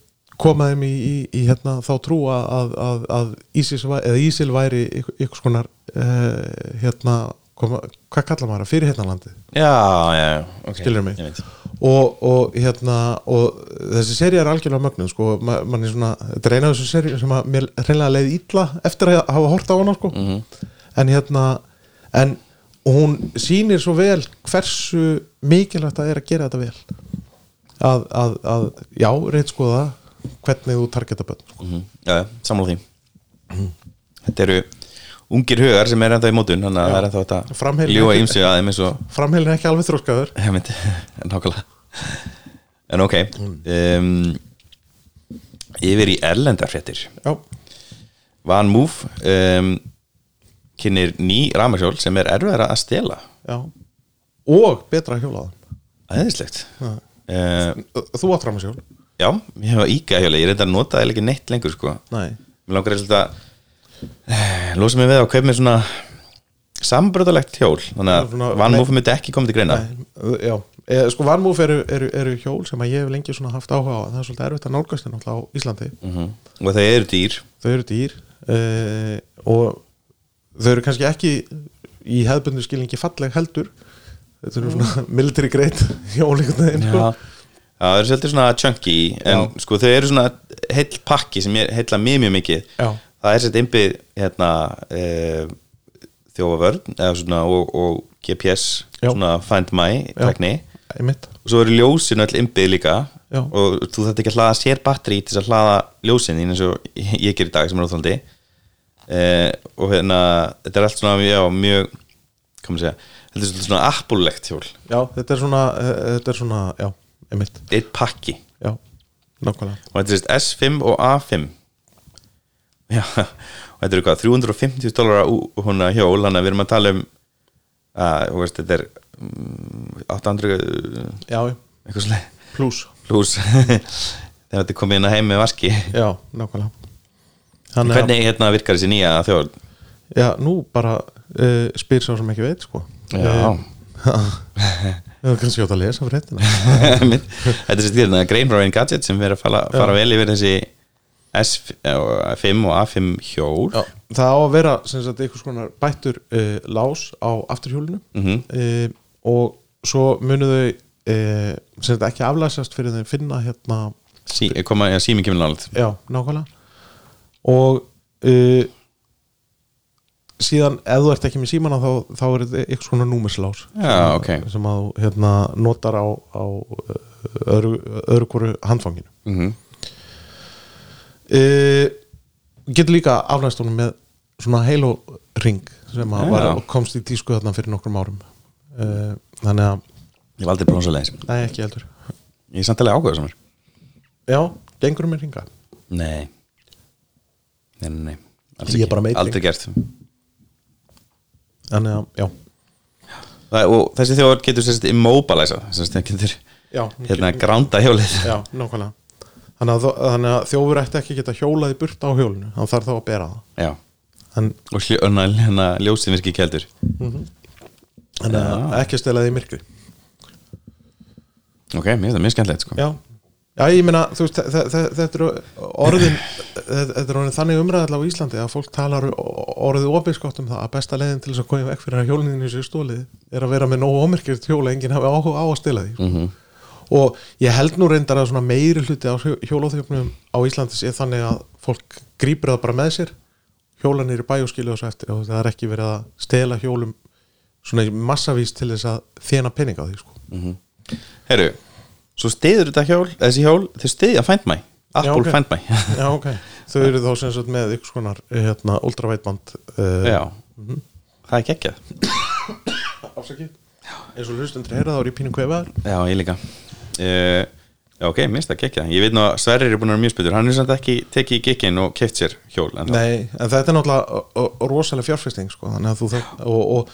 koma þeim í, í, í hérna, þá trú að, að- að, að ISIS, væ- eða ISIL væri ykk- ykkur skonar uh, hérna, koma, hvað kallar maður það? fyrir hérna landið
já, já, já okay.
skilur mig
Ég veit.
og, og hérna og þessi seri er algjörlega mögnum sko, ma mann er svona, þetta er eina af þessu seri sem að mér reynilega leið illa eftir að hafa hort á hana sko en hérna, en hún sýnir svo vel hversu mikilvægt það er að gera þetta vel að, að, að já, reynd sko það hvernig þú targeta bönn sko.
mm Já, já, sammála því Þetta eru ungir hugar sem er ennþá í mótun þannig að það er ennþá þetta að
Framheilin
ljúa
ekki-
ymsu aðeim eins og
framheilin er ekki alveg þróskaður
hefmynd nákvæmlega En ok um, Yfir í erlendarfréttir
já,
Van Move um, kynir ný ramaksjól sem er erfiðara að stela
já og betra hjólaðan
Æðislegt uh,
þú átt fram að sjól
Já, ég hef að íka hjóli, ég reynda að nota það ekki neitt lengur sko
nei,
Mér langar eða að eh, losa mig við að kaupa mér svona sambröðalegt hjól þannig
Já, svona-
að vannmúfum myndi ekki komið til greina
Nei, já, e, sko vanmúf eru, eru, eru hjól sem að ég hef lengi svona haft áhuga á en það er svolítið erfitt að nálgast þeim náttúrulega á Íslandi
Mhm. og það eru dýr
þau eru dýr e, og þau eru kannski ekki í hefðbundu skilningi falleg heldur þetta eru svona military grade hjól einhvern veginn sko.
það eru svolítið svona chunky en sko þau eru svona heill pakki sem ég heilla mjög mjög mikið
Já.
það er sett innbyggð hérna, e, þjófavörn eða svona, og, og GPS
Já.
svona find my tekni
einmitt,
og svo eru ljósin öll innbyggð líka
Já.
og þú þarft ekki að hlaða sér batteri til þess að hlaða ljósin þín eins og ég ger í dag sem er óþólandi eh, og hérna þetta er allt svona já, mjög hvað maður segja, þetta er svolítið svona appulegt hjól
já, þetta er svona e, þetta er svona, já, einmitt
eitt pakki
já, nákvæmlega
og þetta er sérst S5 og A5 já, og þetta eru hvað 350 dólar húnna hjól þannig að við erum að tala um að, þú veist, þetta er mm, 800
já,
eitthvað svolítið
pluss,
plus þegar þetta er komið inn að heim með vaski
já, nákvæmlega Þannig að-
hvernig hérna virkar þessi nýja þjóð
e, Já, nú bara uh, spyr sá sem ekki veit sko
Já.
uh, Við erum kannski átt að lesa fréttina
Einmitt. Þetta er sér til þetta grein frá einn gadget sem verður að fara, fara vel yfir þessi S5 og A5 hjól
Já, það á að vera sem sagt einhvers konar bættur uh, lás á afturhjólinu
Mm. Mhm.
uh, og svo munu þau uh, sem sagt ekki aflæsast fyrir þeim finna hérna,
sí, koma, já, sími kemur nálægt
já, nákvæmlega og uh, síðan ef þú ert ekki með símana þá, þá er þetta einhvers konar númerslás
Já, ok
sem að þú hérna, notar á, á uh, öðru, öðru hverju handfanginu
mm
uh, getur líka aflæst honum með svona Halo ring sem að
Já.
var, komst í tísku þarna fyrir nokkrum árum uh, þannig að,
Ég valdi brónsa leins
nei ekki heldur
sko. Ég er samtalið ágæða samar
já, gengur um með ringa
Nei Nei, nei, nei Alls
Ég er bara meiting.
Aldrei gert
þannig að, já,
Það, og þessi þjóður getur sérst immobilæsa sérst, getur
já
hérna gránda hjólið
já, nákvæmlega þannig að, þó- þannig að þjófur ætti ekki að geta hjólað í burt á hjólinu, hann þarf þá að bera það
já.
en,
og hljó, hérna, hérna, ljósið virki kældur
en að ekki að stela því í myrkri
ok, mér finnst það mjög skemmtilegt sko.
já, já ég meina þú veist, þe- þe- þetta eru orðin þe- þetta eru orðin þannig umræðarlega á Íslandi að fólk talar o- orðið opinskátt um það að besta leiðin til þess að koma vekk fyrir að hjólinni sér stólið er að vera með nógu ómerkjöld hjóla enginn hafi áhuga á að stila því mm -hmm. og ég held nú reyndar að svona meiri hluti á hjólaþjöfnum á Íslandi sé þannig að fólk grýpur það bara með sér hjólanir í bæ og skilja þessu eftir og það er ekki verið að stela hjólum svona massavís til þess að þjena pening á því sko.
herru, svo stiður þetta hjól þessi hjól, þau stiðja Find My Apple
ok.
Find My
Já, ok. Þau eru þá sem sagt með ykkur skonar hérna, ultravætband uh,
já, það er geggjað
afsakið. Eins og hlustundur heyra þá er ég pínu kvefaður.
já, ég líka uh, já, ok, mér finnst það geggjað ég veit nú að Sverrir er búin að vera mjög spytur hann er samt ekki tekið í gikkin og keft sér hjól en það-
Nei, en þetta er náttúrulega ö- ö- rosaleg fjárfesting sko, þannig að þú þarf og, og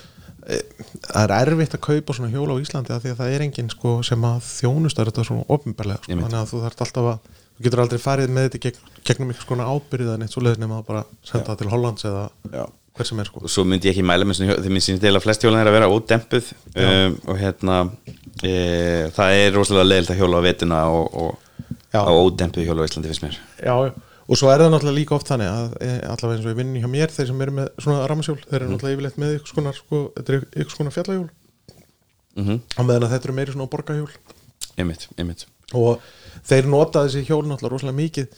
e, það er erfitt að kaupa svona hjóla á Íslandi af því að það er enginn sko, sem að þjónustar þetta svona ofinbarlega sko,
Einmitt.
þannig að þú þarft alltaf að þú getur aldrei farið með þetta gegn, gegnum ykkur skona ábyrðið en eitt svo leiðis nema að bara senda það til Hollands eða
Já.
hver sem er sko.
og svo myndi ég ekki mæla með svona hjól, þegar mér sýnist eiginlega flest hjólan er að vera ódempuð um, og hérna e, það er rosalega leiðilt að hjóla á vetuna og, og
Já.
á ódempuð hjóla á Íslandi finnst mér
já, já. og svo er það náttúrulega líka oft þannig að eh, allavega eins og ég vinn hjá mér þeir sem eru með svona rammasjól, þeir eru náttúrulega yfirleitt með ykkur skonar, sko, þetta er ykkur skonar fjallahjól
Mhm.
á meðan að þetta eru meiri svona borgarhjól
einmitt, einmitt
og þeir nota þessi hjól náttúrulega rosalega mikið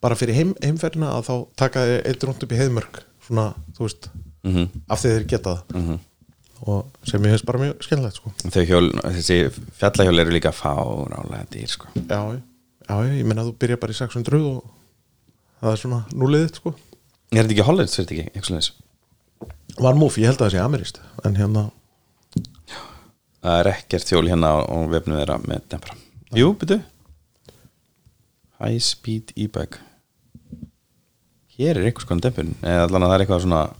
bara fyrir heim, heimferðina að þá taka þeir eitt rúnd upp í heiðmörk svona, þú veist,
Mhm.
af því þeir geta það -hmm. og sem ég finnst bara mjög skemmtilegt sko.
þau hjól, þessi fjallahjól eru líka fárálega dýr sko
já, já, já, ég meina að þú byrja bara í 600 og það er svona núliðið sko.
er þetta ekki hollins, þetta ekki, eitthvað leins
var múf, ég held að það sé amirist en hérna,
það er ekkert hjól hérna á- og vefnum þeirra með dempra jú, byrju high speed e-bike hér er einhvers konar dempur eða allan að það er eitthvað svona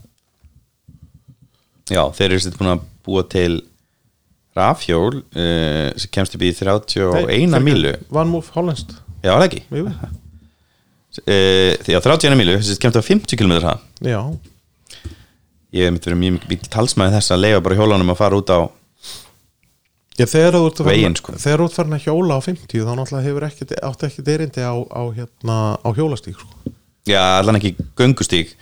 já, þeir eru sér búin að búa til rafhjól uh, sem kemst upp í 31 mílu
Van Moof Hollandst
já, var það ekki
Jú.
uh, já, 31 mílu sem kemst á 50 km hraða
Já,
ég hef mitt verið mjög mikið talsmaði þess að leifa bara hjólunum að fara út á
ég, þegar þú ert farin-
Veginn, sko.
Þegar þú ert farin að hjóla á 50 þá náttúrulega hefur ekki, átt ekki derindi á, á, hérna, á hjólastík sko.
já, allan ekki göngustíg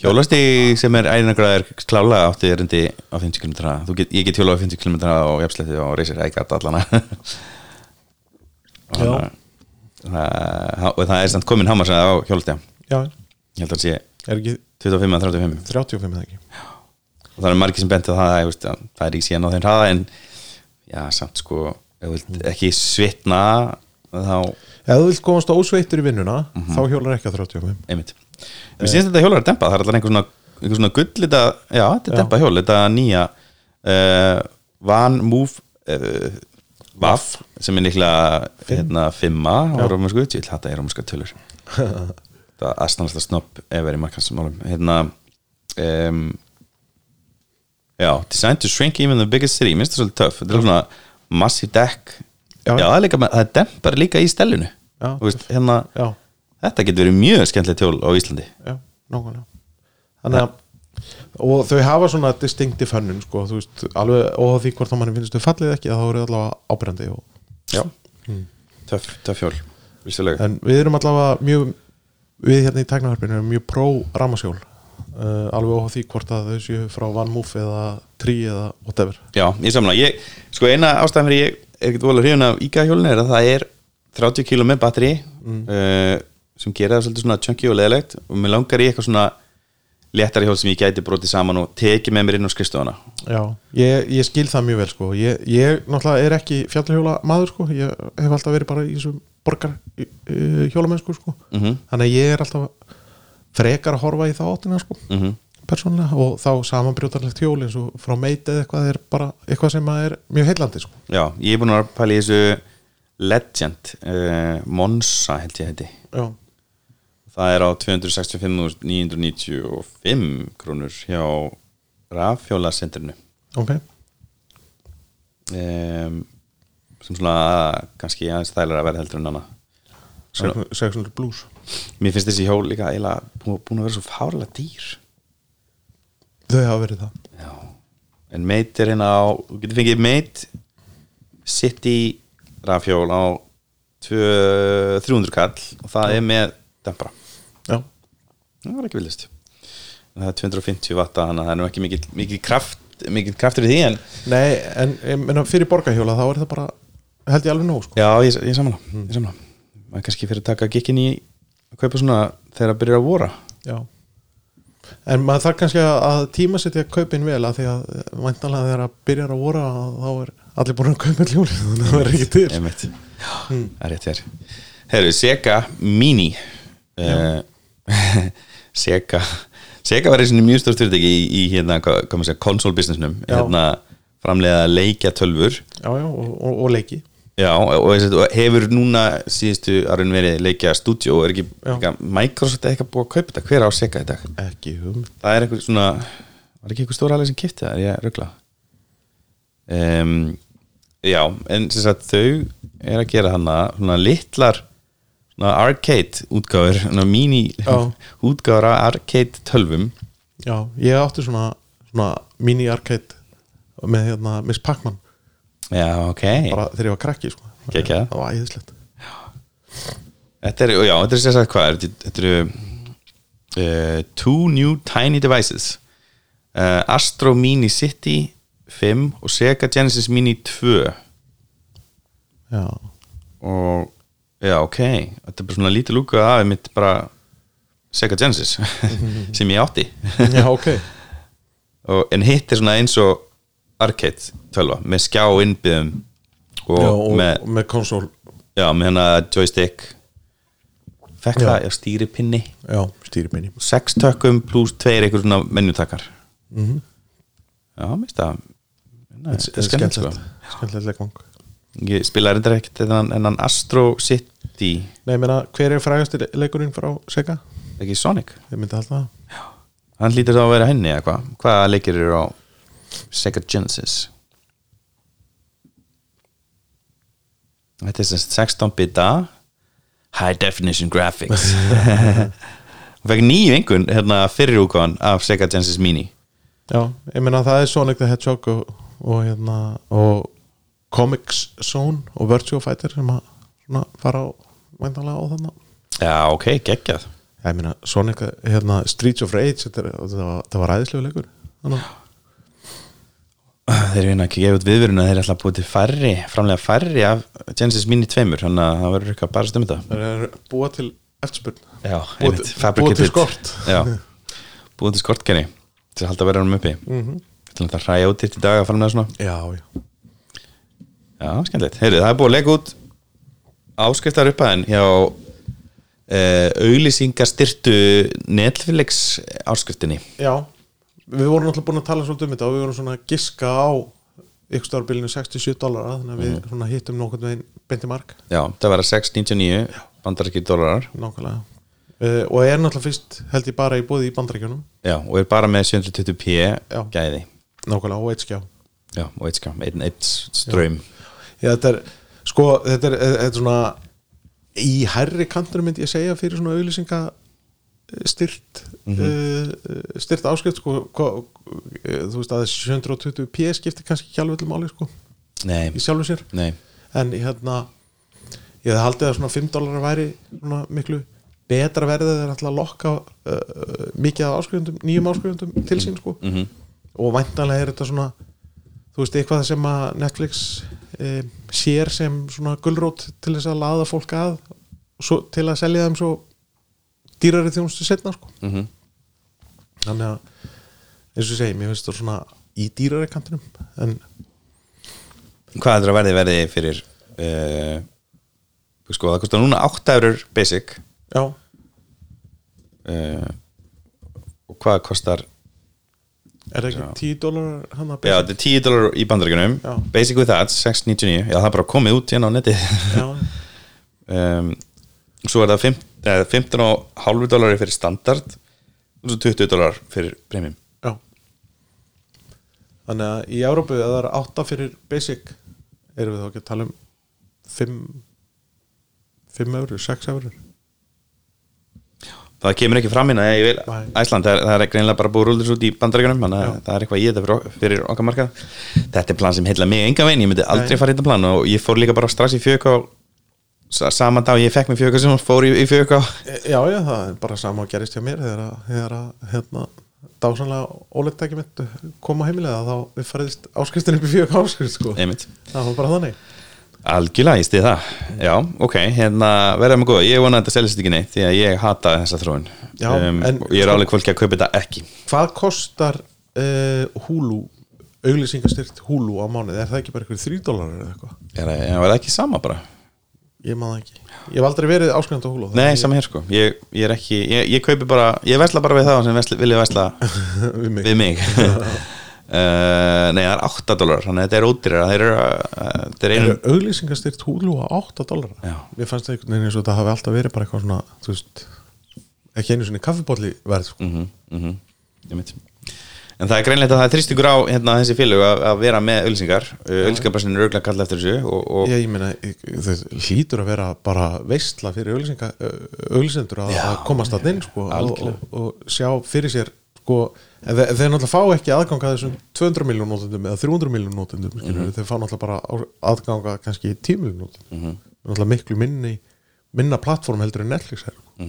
hjólastíg sem er ærinagræðar klálega átti erindi á 50 km hraða. Þú get, ég get hjólað á 50 km hraða og jafnsletti og reysir ægat allana Og
Já.
þannig að- það, og það er samt komin hámar sem það á hjólastega
Já,
ég held að það sé
er ekki
25 að 35
35 eða ekki
og það er margir sem benti að það, ég veist, að það er ekki síðan á þeim hraða en já, samt sko ef þú vilt ekki svitna þá,
Ef þú vilt komast ósveittur í vinnuna
Mhm.
þá hjólar ekki að 35
einmitt mér sínst þetta hjólar að dempa, það er alltaf einhver svona, einhver svona gull þetta, já, þetta er dempa hjól þetta nýja uh, Van Move uh, Vaff, sem er líklega hérna, fimma á rómansku ég vil hata ég rómanska tölur það er aðstæðanasta snopp ef er í markansmálum hérna um, já, designed to shrink even the biggest city, minnst það svolítið töff þetta er svona massive deck já,
Já.
það, er líka, það dempar líka í stellinu
Já.
Þú veist, hérna,
Já,
þetta getur verið mjög skemmtilegt hjól á Íslandi
já, nákvæmlega Þannig að og þau hafa svona distinctive hönnun sko, þú veist, alveg og því hvort þá manni finnst þau fallið eða ekki, þá eru þau allavega ábyrjandi og,
já töff, töff hjól, vissulega
en við erum allavega mjög við hérna í tæknaharpinu erum mjög pró ramasjól uh, alveg óháð því hvort að þau séu frá One Move eða 3 eða whatever
já, ég samla, ég, sko eina ástæðan fyrir ég er ekkert vola hrifun af íga hjólinu er að það er 30 kilo með batteri uh, sem gera það svolítið svona chunky og leðilegt og mér langar í eitthvað svona léttari hjól sem ég gæti brotið saman og tekið með mér inn á skrifstofana
Já, ég, ég skil það mjög vel sko. ég, ég náttúrulega er ekki fjallhjóla maður sko. ég hef alltaf verið bara í þessum borgar uh, hjólamennsku sko.
Mhm.
þannig að ég er alltaf frekar að horfa í þá áttina sko.
Mhm.
persónulega og þá samanbrjótarlegt hjól eins og frá meit eða eitthvað er bara eitthvað sem að er mjög heillandi sko.
já, ég er búin að pæla í þessu Legend uh, Monza held ég heiti
Já,
það er á 265.995 krónur hjá rafhjólasendrinu
ok
um, sem svona kannski aðeins þælar að vera heldur en annað
600 blues
mér finnst þessi hjól líka eiginlega bú- búin að vera svo fárlega dýr
Þau hafa verið það
já. en meit er hérna á þú getur fengið meit city rafhjól á tvö- 300 kall og það er með dempra
Já,
það var ekki villist það er 250 vatta þannig að það er nú ekki mikil, mikil kraft mikil kraftur í því en
Nei, en, en, en fyrir borgarhjóla þá er það bara held ég alveg nóg sko.
já, ég, ég samla ég samla maður er kannski fyrir að taka gikkin í að kaupa svona þegar það byrjar að vora
Já En maður þarf kannski að að tímasetja kaupin vel að því að væntanlega þegar að byrjar að voru að þá er allir búin að kaupa ljóli þannig að það er ekki til
einmitt það er rétt hér herru, Sega Mini uh, Sega Sega var einu sinni mjög stórt fyrirtæki í, í hérna, hvað hvað maður segja, console businessnum
Já.
hérna framleiða leikja tölvur
Já, já, og, og, og leiki
Já, og, og þessi- og hefur núna síðustu árun verið leikja stúdíu og er ekki,
Já.
ekki Microsoft er eitthvað búið að kaupa þetta, hver á seka í dag?
Ekki hum
Það er eitthvað svona var ekki eitthvað stóra alveg sem kipti það, er ég rögla um, Já, en sem sagt þau er að gera hana svona litlar svona arcade útgáfur svona mini
Já.
útgáfur af arcade tölvum
Já, ég átti svona, svona mini-arcade með hérna Miss Pac-Man
Já, ok
bara þegar ég var krakki sko.
Geggjað.
Það var æðislegt
Þetta er, já, þetta er sérstaklega hvað er þetta- Þetta eru uh, Two New Tiny Devices uh, Astro Mini City 5 og Sega Genesis Mini 2
Já,
og já, ok Þetta er bara svona lítið lúka af mitt bara Sega Genesis sem ég átti
já ok
og, en hitt er svona eins og arcade 12 með skjá innbyðum og,
Já, og
með,
með, með konsól
já, með hérna joystick fekk
Já.
það, já, stýripinni
Já, stýriminni
sex tökum pluss tveir einhver svona menjutakar já, mér finnst það Nei, þetta er skemmtilegt sko
Skemmtilegt leikvang
ég spilaði reyndar ekkert ennan, ennan Astro City
Nei, ég meina, hver er frægastir leikurinn frá Sega?
ekki Sonic,
Ég myndi halda það
hann lítur þá að vera henni eða hvað, hvaða leikir eru á Sega Genesis þetta er semst 16 bita high definition graphics hún fekk nýju einhvern hérna fyrir úkvæðan af Sega Genesis Mini
Já, ég meina það er Sonic the Hedgehog og, og, hérna, og Comics Zone og Virtua Fighter sem að svona, fara á væntanlega á þannig
já, ok, geggjað
ég meina Sonic, hérna, Streets of Rage þetta, er- þetta var, það var ræðislega leikur þannig,
Þeir eru hérna ekki gefið út viðvörun að þeir ætla að búið til færri, framlega færri af Genesis Mini 2 þannig að það verður eitthvað um bara stömmið það
það er búa til eftirspurn
Já,
búa, til- búa til skort
Já, búið til skortkenni til að halda verðanum uppi
Mhm.
Þetta er að hræja út þitt í dag að framlega svona
Já, já,
Já, skemmtilegt, heyrðu, það er búið að leika út áskriftar uppaðin hjá uh, auglýsingastyrtu Netflix áskriftinni
já Við vorum alltaf búin að tala svolítið um þetta og við vorum svona að giska á ykkur stárabilinu 67 dólarar þannig að við svona hittum nokkurn veginn beinti mark
Já, það verða 6,99 bandarækir dólarar
Nákvæmlega uh, Og er náttúrulega fyrst held ég bara í búið í bandaríkjunum
Já, og er bara með 720p
Já.
gæði
Nákvæmlega og eitt skjá
Já, og eitt skam, einn eitt ströym
Já, þetta er, sko, þetta er, þetta er svona í herri kantur myndi ég segja fyrir svona auðlýsinga styrt mm uh, styrt áskrift sko, hva, eh, þú veist að 720p skiptir kannski ekki alveg til máli sko,
Nei,
í sjálfu sér
nei
en hérna ég hefði haldið að svona 5 dólar væri svona miklu betra verðið þegar ætla að lokka uh, mikið af áskrifundum, nýjum áskrifundum til sín sko. -hmm. og væntanlega er þetta svona þú veist, eitthvað sem að Netflix eh, sér sem svona gullrót til þess að laða fólk að svo, til að selja þeim svo dýrari þjónustu setna sko. mm -hmm. þannig að eins og ég segi, mér finnst þetta svona í dýrari kantinum en
Hvað heldur að verði verði fyrir uh, Sko, það kostar núna 8 eurur basic
já,
uh, Og hvað kostar
er það ekki 10 dólar hann að
Já, þetta er 10 dólar í bandaríkunum
Já.
Basic with that, 6.99 Já, það er bara komið út hérna á netið
já,
um, Svo er það fimm- eh, 15,5 dólari fyrir standard og svo 20 dólar fyrir premium
já þannig að í Európu ef það er 8 fyrir basic erum við þá ekki að tala um 5 5 eurur, 6 eurur
það kemur ekki fram hérna ég vil,
Nei.
Æsland, það er, það er greinilega bara búið rúldur út í bandaríkunum þannig að
Já.
það er eitthvað í þetta fyrir, ok- fyrir okkar marka þetta er plan sem heilla mig enga veginn ég myndi aldrei
Nei.
fara í þetta plan og ég fór líka bara strax í fjöka saman dag ég fekk mér fjöka sem fór í, í fjöka
E, já, já, það er bara sama að gerist hjá mér þegar að, þegar að hérna, dásanlega óleittæki mitt koma á heimilega þá við fariðist áskriftin upp í fjög áskrift sko.
einmitt
það var bara þannig
Algjörlega, ég stið það Já, ok, hérna, verða með góð Ég vona að þetta seljast ekki neitt Því að ég hata þessa þróun Um,
Já, en- sko-
og Ég er álega fólki að kaupa þetta ekki
hvað kostar uh, húlu auglýsingastyrt húlu á mánuði er það ekki bara ykkur 3 dólarar eða eitthvað
Er það er það ekki sama bara?
ég maður ekki, ég hef aldrei verið áskrifandi á húlu
Nei, sama hér sko Ég, ég er ekki, ég, ég kaupi bara Ég vesla bara við það sem vesla, vilja vesla
við mig
við mig Uh, nei, það er 8 dólar þannig að þetta er ódýrar þeir eru, uh, þeir eru
eru auglýsingastyrt húlu á 8 dólara
Já.
mér fannst það einhvern veginn eins og það hafi alltaf verið bara eitthvað svona, þú veist ekki einu svona kaffibólli verð sko.
mm -hmm, mm -hmm, en það er greinlegt að það er þrýstingur á hérna, þessi félög að, að vera með ölsingar ölsingarbrassin er auðvitað kallað eftir þessu og, og
ég, ég meina, ég- þau hlýtur að vera bara veistla fyrir auglýsinga auglýsendur að,
Já,
að komast að inn sko, og,
algjörlega.
og, og sjá fyrir sér sko, en þe þeir náttúrulega fá ekki aðgang að þessum 200 miljón nótendum eða 300 miljón nótendum mm
Mhm.
þeir fá náttúrulega bara á- aðgang að kannski 10 miljón nótendum náttúrulega miklu minni minna plattform heldur en Netflix er sko.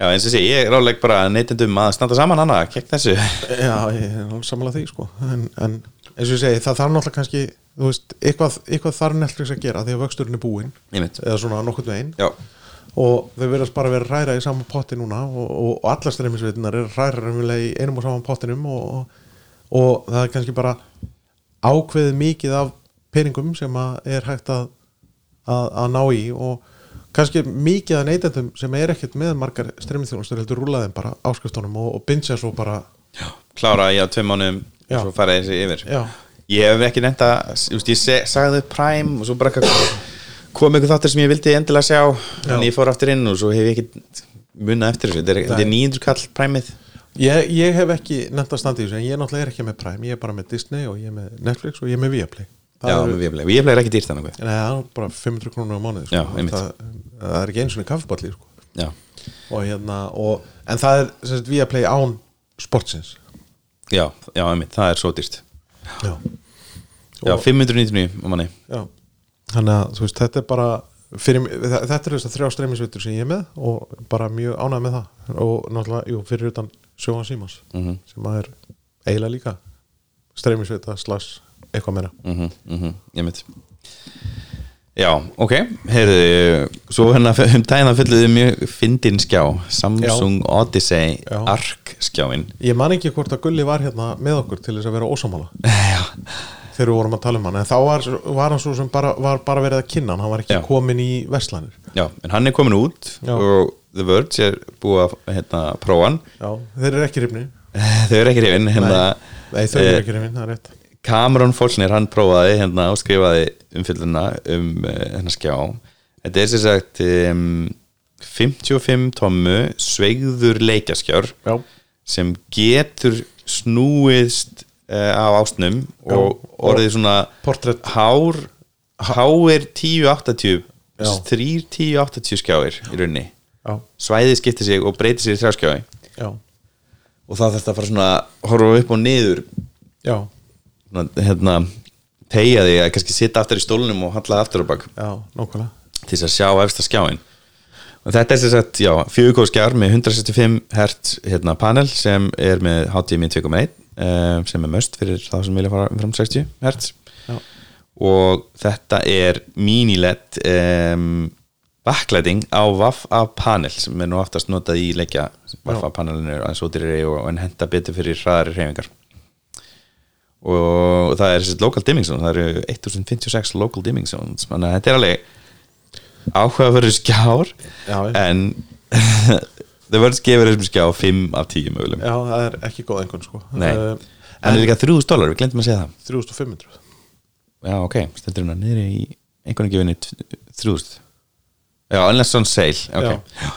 já, eins og sé, ég ráðleg bara neytendum að standa saman hana gegn þessu
Já, ég er alveg sammála því sko en, en eins og ég segi, það þarf náttúrulega kannski þú veist, eitthvað, eitthvað þarf Netflix að gera því að vöxturinn er búinn
Einmitt.
eða svona nokkurn veginn
já,
og þau verðast bara að vera að ræra í sama potti núna og, og, og allar streymisveitunar er ræra raunverulega í einum og saman pottinum og, og, og það er kannski bara ákveðið mikið af peningum sem að er hægt að, að, að ná í og kannski mikið að neytendum sem er ekkert með margar streymisþjónustur heldur rúlaðin bara áskriftunum og, og bindja svo bara
klára ég á tveim mánum
Já.
og svo fara þessi yfir
Já.
ég hef ekki nefnt að, þú veist, ég se- sagði Prime og svo bara eitthvað- kom einhver þáttir sem ég vildi endilega sjá en
Já.
ég fór aftur inn og svo hef ég ekki munna eftir þessu, þetta er, þetta er 900 kall Primeið
Ég, ég hef ekki nefnt að standa í þessu en ég náttúrulega er ekki með Prime, ég er bara með Disney og ég er með Netflix og ég er með Viaplay
Já, með Viaplay, Viaplay er ekki dýrt þannig
Nei, það er bara 500 krónur á mánuði
Já,
sko.
einmitt.
það, það er ekki eins og kaffiballi sko.
Já,
og hérna og, en það er sem sagt Viaplay án sportsins
já, já, einmitt, það er svo dýrt
Já,
Já,
Og-
599 á manni
Já. Þannig að þú veist, þetta er bara fyrir, mig- þa- þetta eru þess að þrjá streymisveitur sem ég er með og bara mjög ánægð með það og náttúrulega, jú, fyrir utan Sjóan Símans
Mhm.
sem að er eiginlega líka streymisveita slags eitthvað meira
mm -hmm, Einmitt Já, ok, heyrðu Svo hérna um daginn að fylluðu mjög fyndin skjá, Samsung Odyssey
Já.
Arc skjáin
Ég man ekki hvort að Gulli var hérna með okkur til þess að vera ósámála
Já,
þegar við vorum að tala um hann en þá var, var hann svo sem bara, var bara verið að kynna hann hann var ekki
Já.
komin í veslanir
já, en hann er komin út
Já.
og The Verge er búið að hérna, prófa hann
Já, þeir eru ekki rifni
Þau eru ekki reyfin hérna,
Nei, þau eru ekki rifni, það er rétt
Cameron Faulkner hann prófaði hérna og skrifaði umfylluna um uh, hennar skjá þetta er sem sagt um, 55 tommu sveigður leikjaskjár
Já,
sem getur snúist uh, af ásnum og
Já, og-
orðið svona
portrétt.
hár, háir 1080
Já.
3 1080 skjáir í raunni
Já.
svæðið skiptir sig og breytir sér í þrjáskjáði
já,
og þá þarf þetta bara svona horfa upp og niður
já,
svona, hérna, tegja því að kannski sitta aftur í stólunum og halla aftur á bak
já, nákvæmlega
til þess að sjá efsta skjáin og þetta er sem sagt, já, fjögurkóð skjár með 165 Hz hérna, panel sem er með HDMI 2.1 um, sem er möst fyrir þá sem vilja fara umfram 60 Hz
Já.
og þetta er mini-led um, backlighting á WAF-A panel sem er nú aftast notað í leikja WAF-A panelinu er aðeins útýrri og en henda betur fyrir hraðari hreyfingar og það er þessi local dimming zone það eru 1056 local dimming zones þannig að þetta er alveg áhugaverður skjár
Já, já.
en það verður skefur þessum skjár 5 af 10 mögulegum
Já, það er ekki góð einhvern sko
Nei.
Eh,
hann er líka 3000 dólar, við glemtum að segja það
3500
Um. já ok, stendur hún að niður í einhvern gefinni 3000 já, unless on sale ok
Já.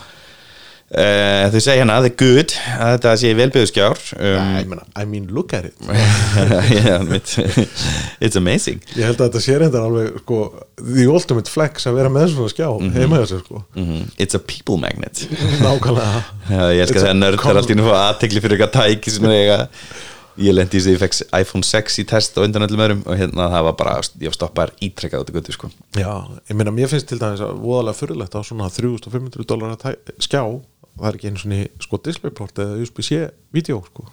Eh, þau segja hérna, the good að þetta sé velbyggðu skjár um,
Nei, ég meina, I mean look at it
yeah, mitt, it's amazing
Ég held að þetta sé reyndar alveg sko, the ultimate flex að vera með svona skjá heima hjá sér sko
Mhm. It's a people magnet
Nákvæmlega
Já, Ég elska
It's a
þegar nördar
common-
allt í nú aðtegli fyrir eitthvað tæki sem er eiga Ég lendi í þess að ég fekk iPhone 6 í test á undan öllum öðrum og hérna það var bara, ég stoppaði ítrekkað út í götu sko
Já, ég meina, mér finnst til dæmis að voðalega fyrirlegt á svona 3500 dólar skjá það er ekki einu svona sko displayport eða USB-C vídeo sko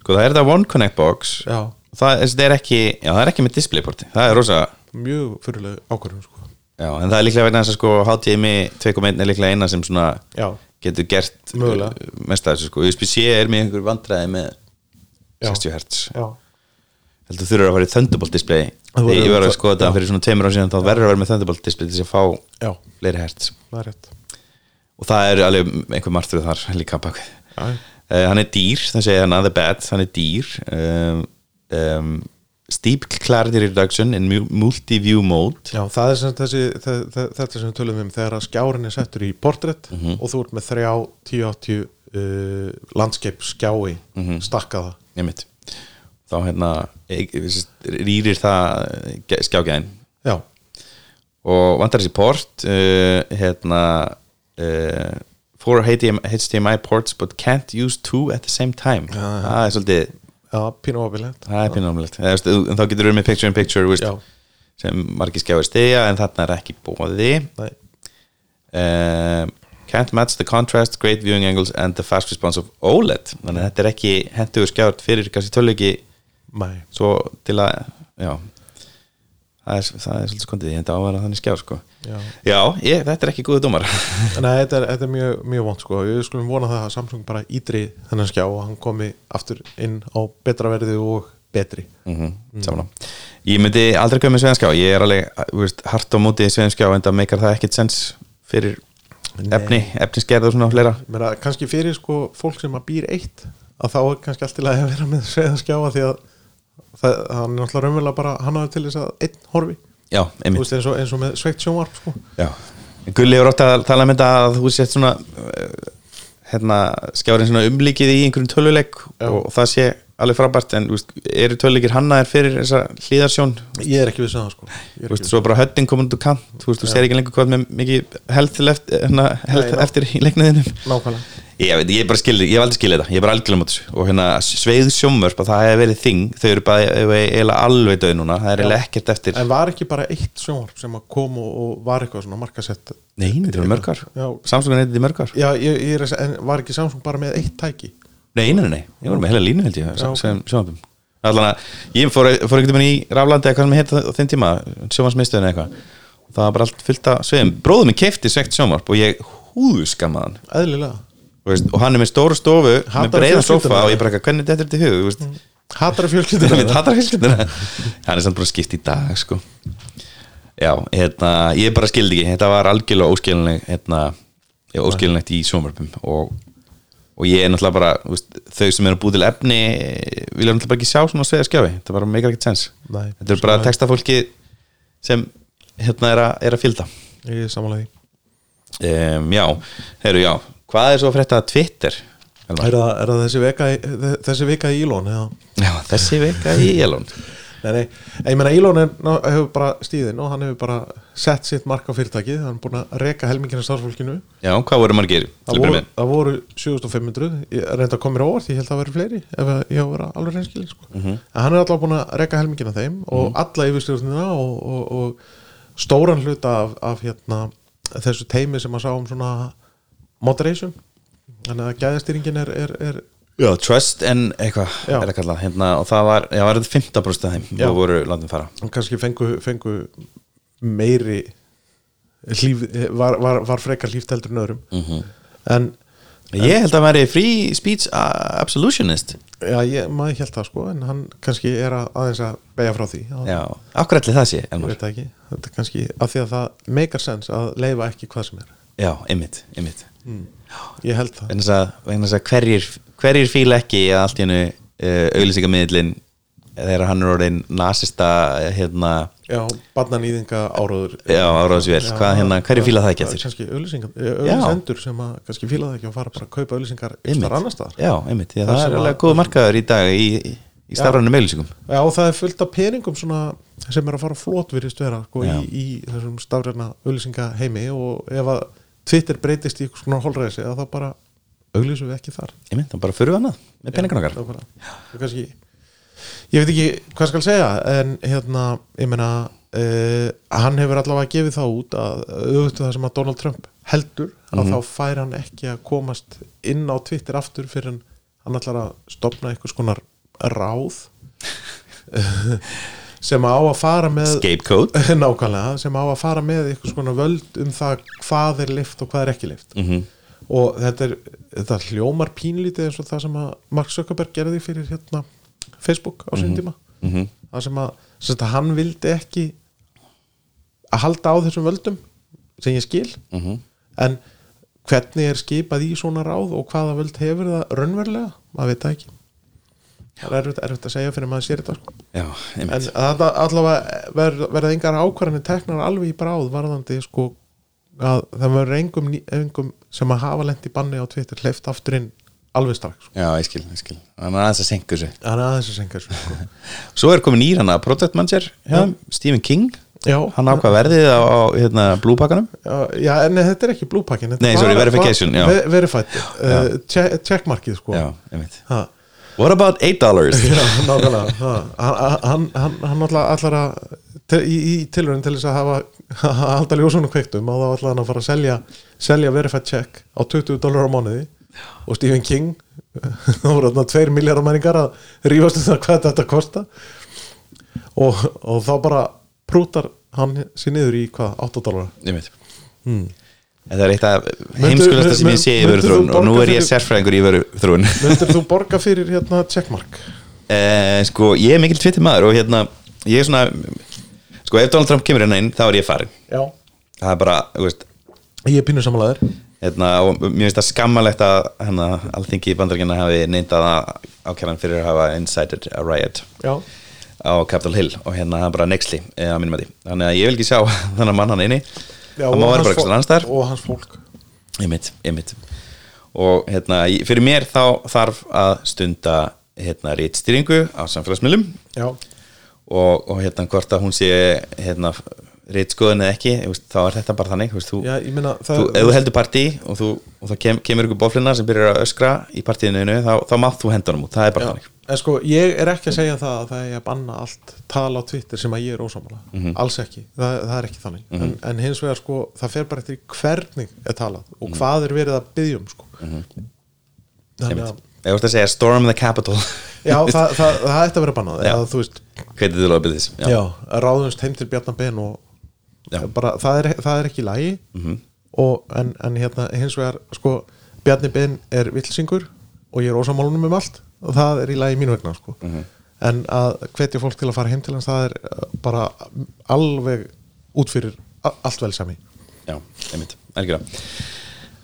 Sko það er þetta OneConnect box
Já.
það, er- það, er ekki, já, það er ekki með displayporti, það er rosa
mjög fyrirleg ákvörðum sko
Já, en það er líklega vegna þess að sko HDMI 2.1 er líklega eina sem svona
Já.
getur gert
Mögulega.
uh, mest af þessu sko USB-C er með einhver vandræði með
Já.
60 Hz
Já,
heldur þurfur að fara í Thunderbolt display
Það voru-
ég verður að skoða þetta fyrir svona tveimur ára síðan þá verður að vera með Thunderbolt display til þess að fá
já,
fleiri hertz
það er rétt
og það er alveg einhver martröð þar líka bakið
Já.
uh, hann er dýr, það segja hann að the bad hann er dýr um, um, steep clarity reduction in mu- multi-view mode
Já, það er sem sagt þessi, þe- þe- þetta sem við tölum um þegar að skjárin er settur í portrétt og þú ert með þrjá 1080 uh, landskeip skjái stakkaða
einmitt þá hérna e- e- sem sagt, rýrir það eh, ge- skjágæðin
Já,
og vantar þessi port uh, hérna uh, four HDMI, HDMI ports but can't use two at the same time það er svolítið
já, pínu ábyrlegt
það er pínumlegt en þá getur við með picture in picture veist,
Já.
sem margir skjáir stiga en þarna er ekki bóði
Nei,
um, can't match the contrast great viewing angles and the fast response of OLED þannig að þetta er ekki hentugur skjárt fyrir kannski tölviki
nei,
svo til að já það er, það er svolítið skondið, ég hefndi ávara þannig skjá sko.
Já.
ég, þetta er ekki góðu dómar
nei þetta, er, þetta er mjög, mjög vond sko Við skulum vona það að Samsung bara ítri þennan skjá og hann komi aftur inn á betra verði og betri
mm -hmm. ég myndi aldrei koma með sveðanskjá ég er alveg, þú veist, hart á móti sveðanskjá en það meikar það ekkit sens fyrir efni, efnisgerð og svona fleira
Mér að kannski fyrir sko fólk sem að býr eitt að þá er kannski allt til að vera með sveða skjáa því að það, hann er náttúrulega raunverulega bara hann hafði til þess að einn horfi
já,
Þú
einmitt
veist, eins, og, eins og með sveikt sjónvarp sko.
já. Gulli hefur ótt að tala með þetta að þú sett svona eh, hérna, skjárin svona umlíkið í einhverjum töluleik
Já.
og það sé alveg frábært en þú veist, eru töluleikir hannaðir fyrir þessa hlýðarsjón
Ég er ekki við það sko. Ég
Þú
er
veist,
ekki
svo bara höttin komin út úr kant þú veist, þú sér ekki lengur hvað með mikið held, left, hérna, held
Nei, ná.
eftir í leiknaðinum
við nákvæmlega
ég veit, ég bara skilði, ég hef aldrei skilðið þetta ég er bara algjörlega mútið og hérna sveið sjómvörp að það hefði verið þing, þau eru bara eru eiginlega alveg döð núna, það er eiginlega ekkert eftir
En var ekki bara eitt sjónvarp sem að kom og, og var eitthvað svona markasett
nei, þetta eru mörgar,
Já.
Samsung er þetta mörgar
Já, ég, ég er að segja, en var ekki Samsung bara með eitt tæki
nei, nei, nei, nei, ég var með heila línu held ég
Já, ok.
sem sjómvörpum allan að, ég fór, fór einhvern veginn í raflandi eða hvað sem heita á þeim tíma, sjómvarsmiðstöðin eða eitthvað það var bara allt fullt af sveiðum bróðum minn keifti svegt sjómvarp og ég húðskammaði hann
Eðlilega
Þú veist, og hann er með stóru stofu
Hatar
með breiðan
fjölskylduna.
sofa og ég bara eitthvað, hvernig þetta er þetta í hug þú veist?
Hattar
Þetta
fjölskyldur
er mitt hattar fjölskylduna hann er samt bara skipt í dag sko. já, hérna ég bara skildi ekki, þetta var algjörlega óskilinleg hérna, já, óskilinlegt í sjónvarpum og, og ég er náttúrulega bara þú veist, þau sem eru búið til efni eh, vilja náttúrulega bara ekki sjá svona sveða skjáfi þetta bara meikar ekkert sens
Nei.
þetta er bara
Svona-
textafólki sem hérna er, a, er að fylda
Ég er samanlega því
um, já, heyrðu já hvað er svo að frétta af Twitter? Elmar?
Er það, er það þessi, veka, í- þessi vika í Ílón? Já,
Já, þessi vika í Elon
Nei, nei, en ég meina Elon er, ná, hefur bara stíðin og hann hefur bara sett sitt mark á fyrirtækið, hann er búin að reka helmingina starfsfólkinu,
Já, hvað voru margir?
það voru, það voru 7500, ég reynda að koma mér á óvart, ég held að það væri fleiri ef að ég á að vera alveg reynskili sko. en hann er alltaf búin að reka helmingina þeim og alla yfirstjórnina og, og, og stóran hluta af, af hérna, þessu teimi sem að sá um svona moderation þannig að gæðastýringin er, er, er
Já, trust en eitthvað
Já.
er að kalla hérna, og það var, já, var þetta 15% af þeim
Já.
og voru landin fara
kannski fengu, fengu meiri hlíf, var, var, var frekar hlíft heldur en öðrum -hmm.
Mhm.
en
Ég held að væri free speech uh, absolutionist
já, ég, maður held það sko en hann kannski er að, aðeins að beigja frá því að,
Já, akkur ætli það sé
ég
Elmar.
veit það ekki, þetta er kannski að því að það meikar sens að leifa ekki hvað sem er
Já, einmitt, einmitt
ég held það,
vegna þess að, vegna þess að hverjir, hverjir fíla ekki að allt í hennu uh, auðlýsingamiðlin þegar hann er orðin nasista hérna,
já, barnanýðinga áróður
Já, áróðursvél. Hvað hérna, hverju fíla það ekki eftir?
kannski auðlýsendur sem að kannski fíla það ekki og fara bara að kaupa auðlýsingar einhver annar staðar
já, einmitt, já,
Þar
það
sem
er
að-
alveg góð markaður í dag í, í, í stafrænum auðlýsingum
Já, og það er fullt af peningum svona sem er að fara flott virðist vera sko, í,
Já.
í þessum stafræna auðlýsinga heimi og ef að Twitter breytist í eitthvað svona holræðis eða þá bara auðlýsum við ekki þar
einmitt, þá bara fyrir við annað með peningar okkar
Nákvæmlega. og kannski ég veit ekki hvað skal segja en hérna, ég meina uh, hann hefur allavega gefið það út að auðvitað það sem að Donald Trump heldur að þá fær hann ekki að komast inn á Twitter aftur fyrir en hann ætlar að stopna eitthvað skonar ráð sem á að fara með
Scapegoat
nákvæmlega, sem á að fara með eitthvað svona völd um það hvað er lift og hvað er ekki lift -hmm. og þetta er, þetta hljómar pínlítið eins og það sem að Mark Zuckerberg gerði fyrir hérna Facebook á sinni tíma -hmm. það sem að, sem að hann vildi ekki að halda á þessum völdum sem ég skil -hmm. en hvernig er skipað í svona ráð og hvaða völd hefur það raunverulega, maður veit það ekki það er erfitt, erfitt að segja fyrir maður sér þetta sko
Já, einmitt,
en þetta allavega ver, verða engar ákvarðanir teknar alveg í bráð varðandi sko að það verður engum, ný- engum sem að hafa lent í banni á Twitter hleyft aftur inn alveg strax sko.
já, ég skil, ég skil Þannig að þess að senka þessu
það er aðeins að senka þessu sko.
Svo er komin nýr hann að Project Manager ja. Stephen King,
já,
hann ákvað verðið á, á hérna, blúpakkanum
já, já, en þetta er ekki Blue Packin
Nei, sorry, verification, já.
verified, uh, check, checkmarkið sko
Já, einmitt
Ha.
What about eight dollars?
Já, nákvæmlega ha. Hann- hann, hann, hann alltaf allar að til, í, í tilurinn til þess að hafa að halda ljósunum kveiktum og þá allar hann að fara að selja selja verified check á 20 dólar á mánuði og Stephen King þá voru þarna 2 miljardar mæningar að rífast um það hvað þetta kosta og, og þá bara prútar hann sér niður í hvað 8 dólar
einmitt Þetta er eitt af
Myndu-
heimskulasta sem
mun-
ég sé í
Hmm. myndir þú
vöruþrún og nú
borga
er ég
fyrir-
sérfræðingur í vöruþrún
Myndir þú borga fyrir hérna checkmark?
eh, Sko, ég er mikil tvittir maður og hérna, ég er svona Sko, ef Donald Trump kemur hérna inn, þá er ég farin
Já
Það er bara, þú veist
Ég er pínu samanlegaður
hérna, og mér finnst það skammalegt að hérna, alþingi í bandaríkina hafi neyndað að ákjæran fyrir að hafa incited a riot
Já
á Capitol Hill og hérna það er bara nexli eh, að mínum að því, þannig að ég vil ekki sjá þannig mann hann inni,
Já,
það má
og
vera
hans
bara
fólk-
eitthvað annars þar
Og hans fólk
einmitt, einmitt og hérna, ég- fyrir mér þá þarf að stunda hérna rítstýringu á samfélagsmiðlum
Já
og, og hérna hvort að hún sé hérna rítskoðun eða ekki, þú veist, þá er þetta bara þannig þú veist, þú,
Já, ég meina það
Sko. þú, ef þú heldur partí og, þú, og það kem, kemur ykkur bóflina sem byrjar að öskra í partíinu þá, þá mátt þú hendunum út, það er bara
Já,
þannig
En sko, ég er ekki að segja það að það er að banna allt tala á Twitter sem að ég er ósámála
Mhm.
alls ekki, það, það er ekki þannig en, en hins vegar sko, það fer bara eftir því hvernig er talað og
Mhm.
hvað er verið að byggja um sko. þannig að
einmitt, ef þú ert að segja storm the capital
já, það, það, það ætti að vera bannað
Já.
eða þú veist,
hvernig þú lofið þess
já. ráðumst heim til Bjarnar Ben og
Já.
bara, það, er, það er ekki í lagi og, en, en hérna, hins vegar sko, Bjarni Ben er villsingur og ég er ósamálunum um allt og það er í lagi mín vegna sko. en að hvetja fólk til að fara heim til hans það er uh, bara alveg út fyrir a- allt vel sami
Já, einmitt, algjörða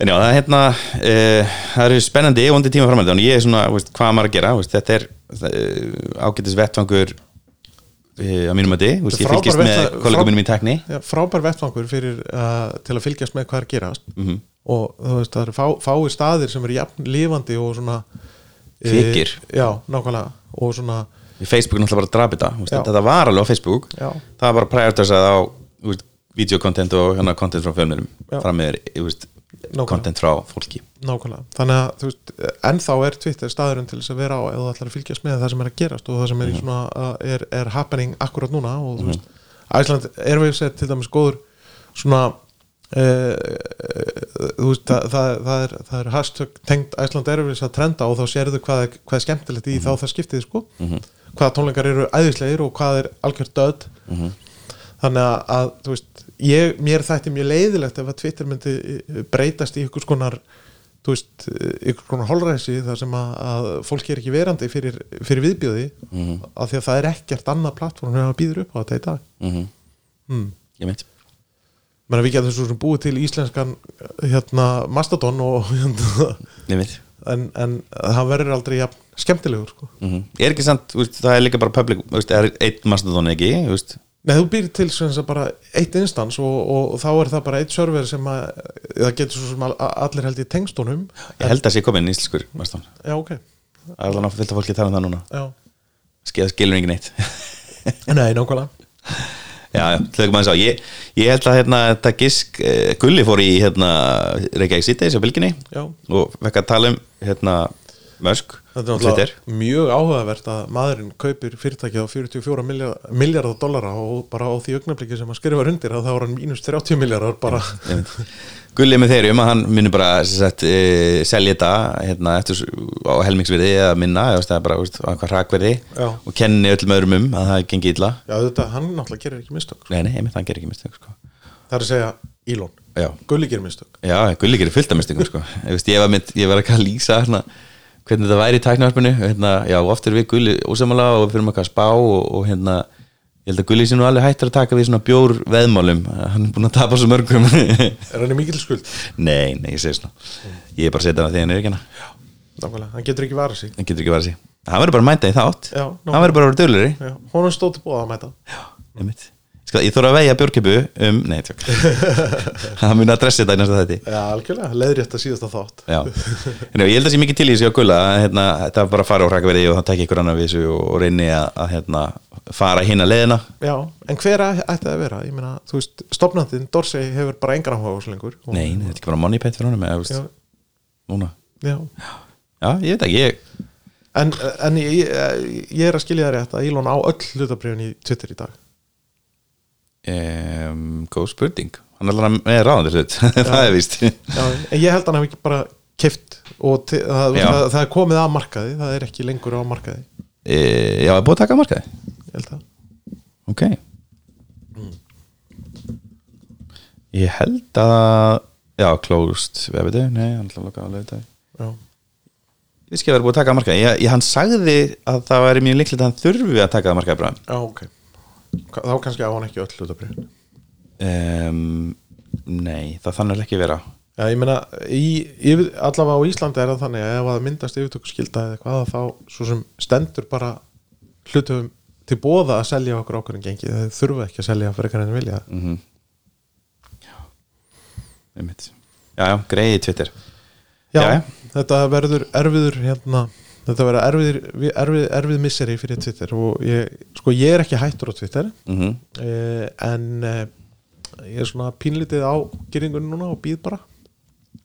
En já, það er hérna uh, það eru spennandi og undir tíma framhaldi en ég er svona, veist, hvað á maður að gera veist, þetta er uh, ágætis vettvangur uh, á mínum að þið veist, ég
Frábær
fylgist með
vettvang-
kollega
frá-
mínum í tekni
Já, frábær vettvangur fyrir uh, til að fylgjast með hvað er að gerast
Mhm.
-hmm. og þú veist, það eru fá, fáir staðir sem eru jafn lifandi og svona eh,
Kvikir.
Já, nákvæmlega og svona
Facebook er náttúrulega bara að drapi þetta þú veist,
Já.
þetta var alveg á Facebook
Já.
það var bara að prioritisa það á þú veist, videokontent og hana content frá fjölmjölum
Já.
fram með
Nákvæmlega.
content frá fólki
Nákvæmlega, þannig að þú veist ennþá er Twitter staðurinn til þess að vera á ef þú ætlar að fylgjast með það sem er að gerast og það sem er, í svona, að- er, er happening akkurat núna og þú veist, Æsland er við sett til dæmis góður svona e, þú veist, það, það, það, er, það er hashtag tengd Æsland er við að trenda og þá sérðu hvað, er- hvað er skemmtilegt í þá það skiptið sko hvaða tónleikar eru æðislegir og hvað er algjör döð þannig að, að þú veist, ég, mér þætti mjög leiðilegt ef að Twitter myndi eh, breytast í ykkur skonar þú veist, eh, ykkur konar holræsi þar sem að, að fólk er ekki verandi fyrir, fyrir viðbjöði af því að það er ekkert annað plattform sem að býður upp á þetta í dag
mm -hmm.
mm.
ég meint
Menna, við getum svo sem búið til íslenskan hérna, Mastodon og, hérna,
Ég veit
en, en það verður aldrei jafn, skemmtilegur sko.
mm Er ekki samt, þú veist, það er líka bara public þú veist, er einn mastodon ekki, þú veist
Nei, þú býr til sem sagt bara eitt instans og, og þá er það bara eitt server sem að, það getur svo sem að allir held í tengstónum
Ég held að sé komin íslenskur mastodon
Já, ok,
Það er alveg náttúrulega fylgta fólki að tala um það núna
já
Ske- Það skilur engin neitt
Nei, nákvæmlega
Já, já, tökum aðeins á ég, ég held að hérna, þetta gisk eh, Gulli fór í hérna, Reykjavík Citys á bylginni
Já.
og vekk að tala um hérna, um Mörsk
Þetta er náttúrulega mjög áhugavert að maðurinn kaupir fyrirtækið á 44 miljard, miljardar dollara og bara á því augnabliki sem að skrifa rundir að það var hann mínus 30 miljardar bara
Gulli er með þeirri um að hann muni bara sem sagt, e, selja þetta hérna, eftir, á helmingsverði eða minna eða þú veist, það er bara þú veist, á einhver rakverði
Já.
og kenni öllum öðrum um að það gengi illa
Já, þetta, hann náttúrulega gerir ekki mistök
Nei, nei, einmitt, hann gerir ekki mistök sko.
Það er að segja Elon,
Já,
Gulli gerir mistök
já, Gulli gerir fullt af mistökum sko. ég, veist, ég, var mynd, ég var ekki að lýsa hérna, hvernig þetta væri í tæknavarpinu hérna, já, og oft er við Gulli ósamála og við fyrir maður að spá og, og hérna ég held að Gulli sé nú alveg hættur að taka við svona bjór veðmálum, hann er búin að tapa svo mörgum
Er hann í mikil skuld?
Nei, nei, ég segi svona Ég er bara að setja hana því hann er ekki hana
Nákvæmlega, hann getur ekki varað sig
Það getur ekki verið að sé Hann verður bara að mæta í þátt
Já, nokkuð.
Hann verður bara að vera döluri
Já, honum stóð til bóða að mæta
Einmitt. Skal, Ég þóra að veja björkipu um Nei, tjók Hann mun að dressa þetta í næsta þætti
Já, algjörlega, leiðrétt að síðasta þátt
Já, Nei, ég held að sé mikið til í þessu hjá Gulla að, hérna, þetta var bara að fara á hrakverði og það tekja ykkur annar við þessu og, og reyni að, að hérna, fara hinn að leiðina
Já, en hver æ- ætti það að vera? Ég meina, þú veist, stopnandinn Dorsey hefur bara engan áhuga á þessu lengur og,
Nei, þetta er ekki bara money pet fyrir honum eða, þú
já,
veist, núna
já.
Já, ég veit ekki, ég,
En, en ég, ég, ég er að skilja það rétt að Elon á öll hlutabriðun í Twitter í dag
um, góð spurning Hann er alveg með ráðandi hlut, það er víst
Já, en ég held hann hef ekki bara kift og te, það,
Já.
það, það er komið að markaði það er ekki lengur á markaði
e, Já, er búið að taka markaði?
ég held það
Ok Ég held að Já, closed Vefiðu, nei, hann ætla að loka að lögðu Ég
Já,
veist ekki að vera búið að taka að marka ég, ég, Hann sagði að það væri mjög líklegt að hann þurfi að taka að marka bara.
já ok Ka- Þá kannski á hann ekki öll hlutabriðun
um, Nei, það þannig er ekki vera
Já, ég meina, í, yfir, allavega á Íslandi er það þannig að ef að myndast yfirtökuskylda eða eitthvað að þá svo sem stendur bara hlutum til bóða að selja okkur ákveðin gengi þeir þurfa ekki að selja fyrir hvernig vilja
mm -hmm. Já, já, greiði Twitter
Já,
Jæja.
þetta verður erfiður hérna, þetta verður erfiður vi- erfið, erfið misseri fyrir Twitter og ég, sko, ég er ekki hættur á Twitter
mm
eh, en eh, ég er svona pínlítið á geringunum núna og býð bara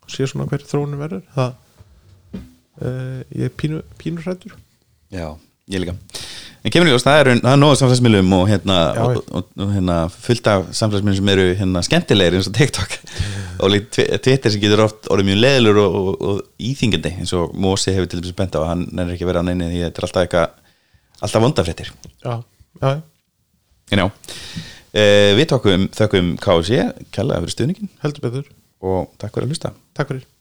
og sé svona hver þróunin verður það eh, ég er pínu, pínur hrættur
Já, ég líka En kemur í ljós, það er, það er nóðu samfélagsmiðlum og, hérna,
Já,
og, og, og hérna, fullt af samfélagsmiðlum sem eru hérna, skemmtilegir eins og TikTok og lík tvi- Twitter sem getur oft orðið mjög leðilur og, og, og íþingandi eins og Mósi hefur til dæmis bent á hann er ekki verið á neini því þetta er alltaf eitthvað alltaf vondafréttir
Já, já,
En já, eh, við tókum þökkum KFC, kærlega fyrir stuðningin
heldur betur
og takk fyrir að hlusta
Takk fyrir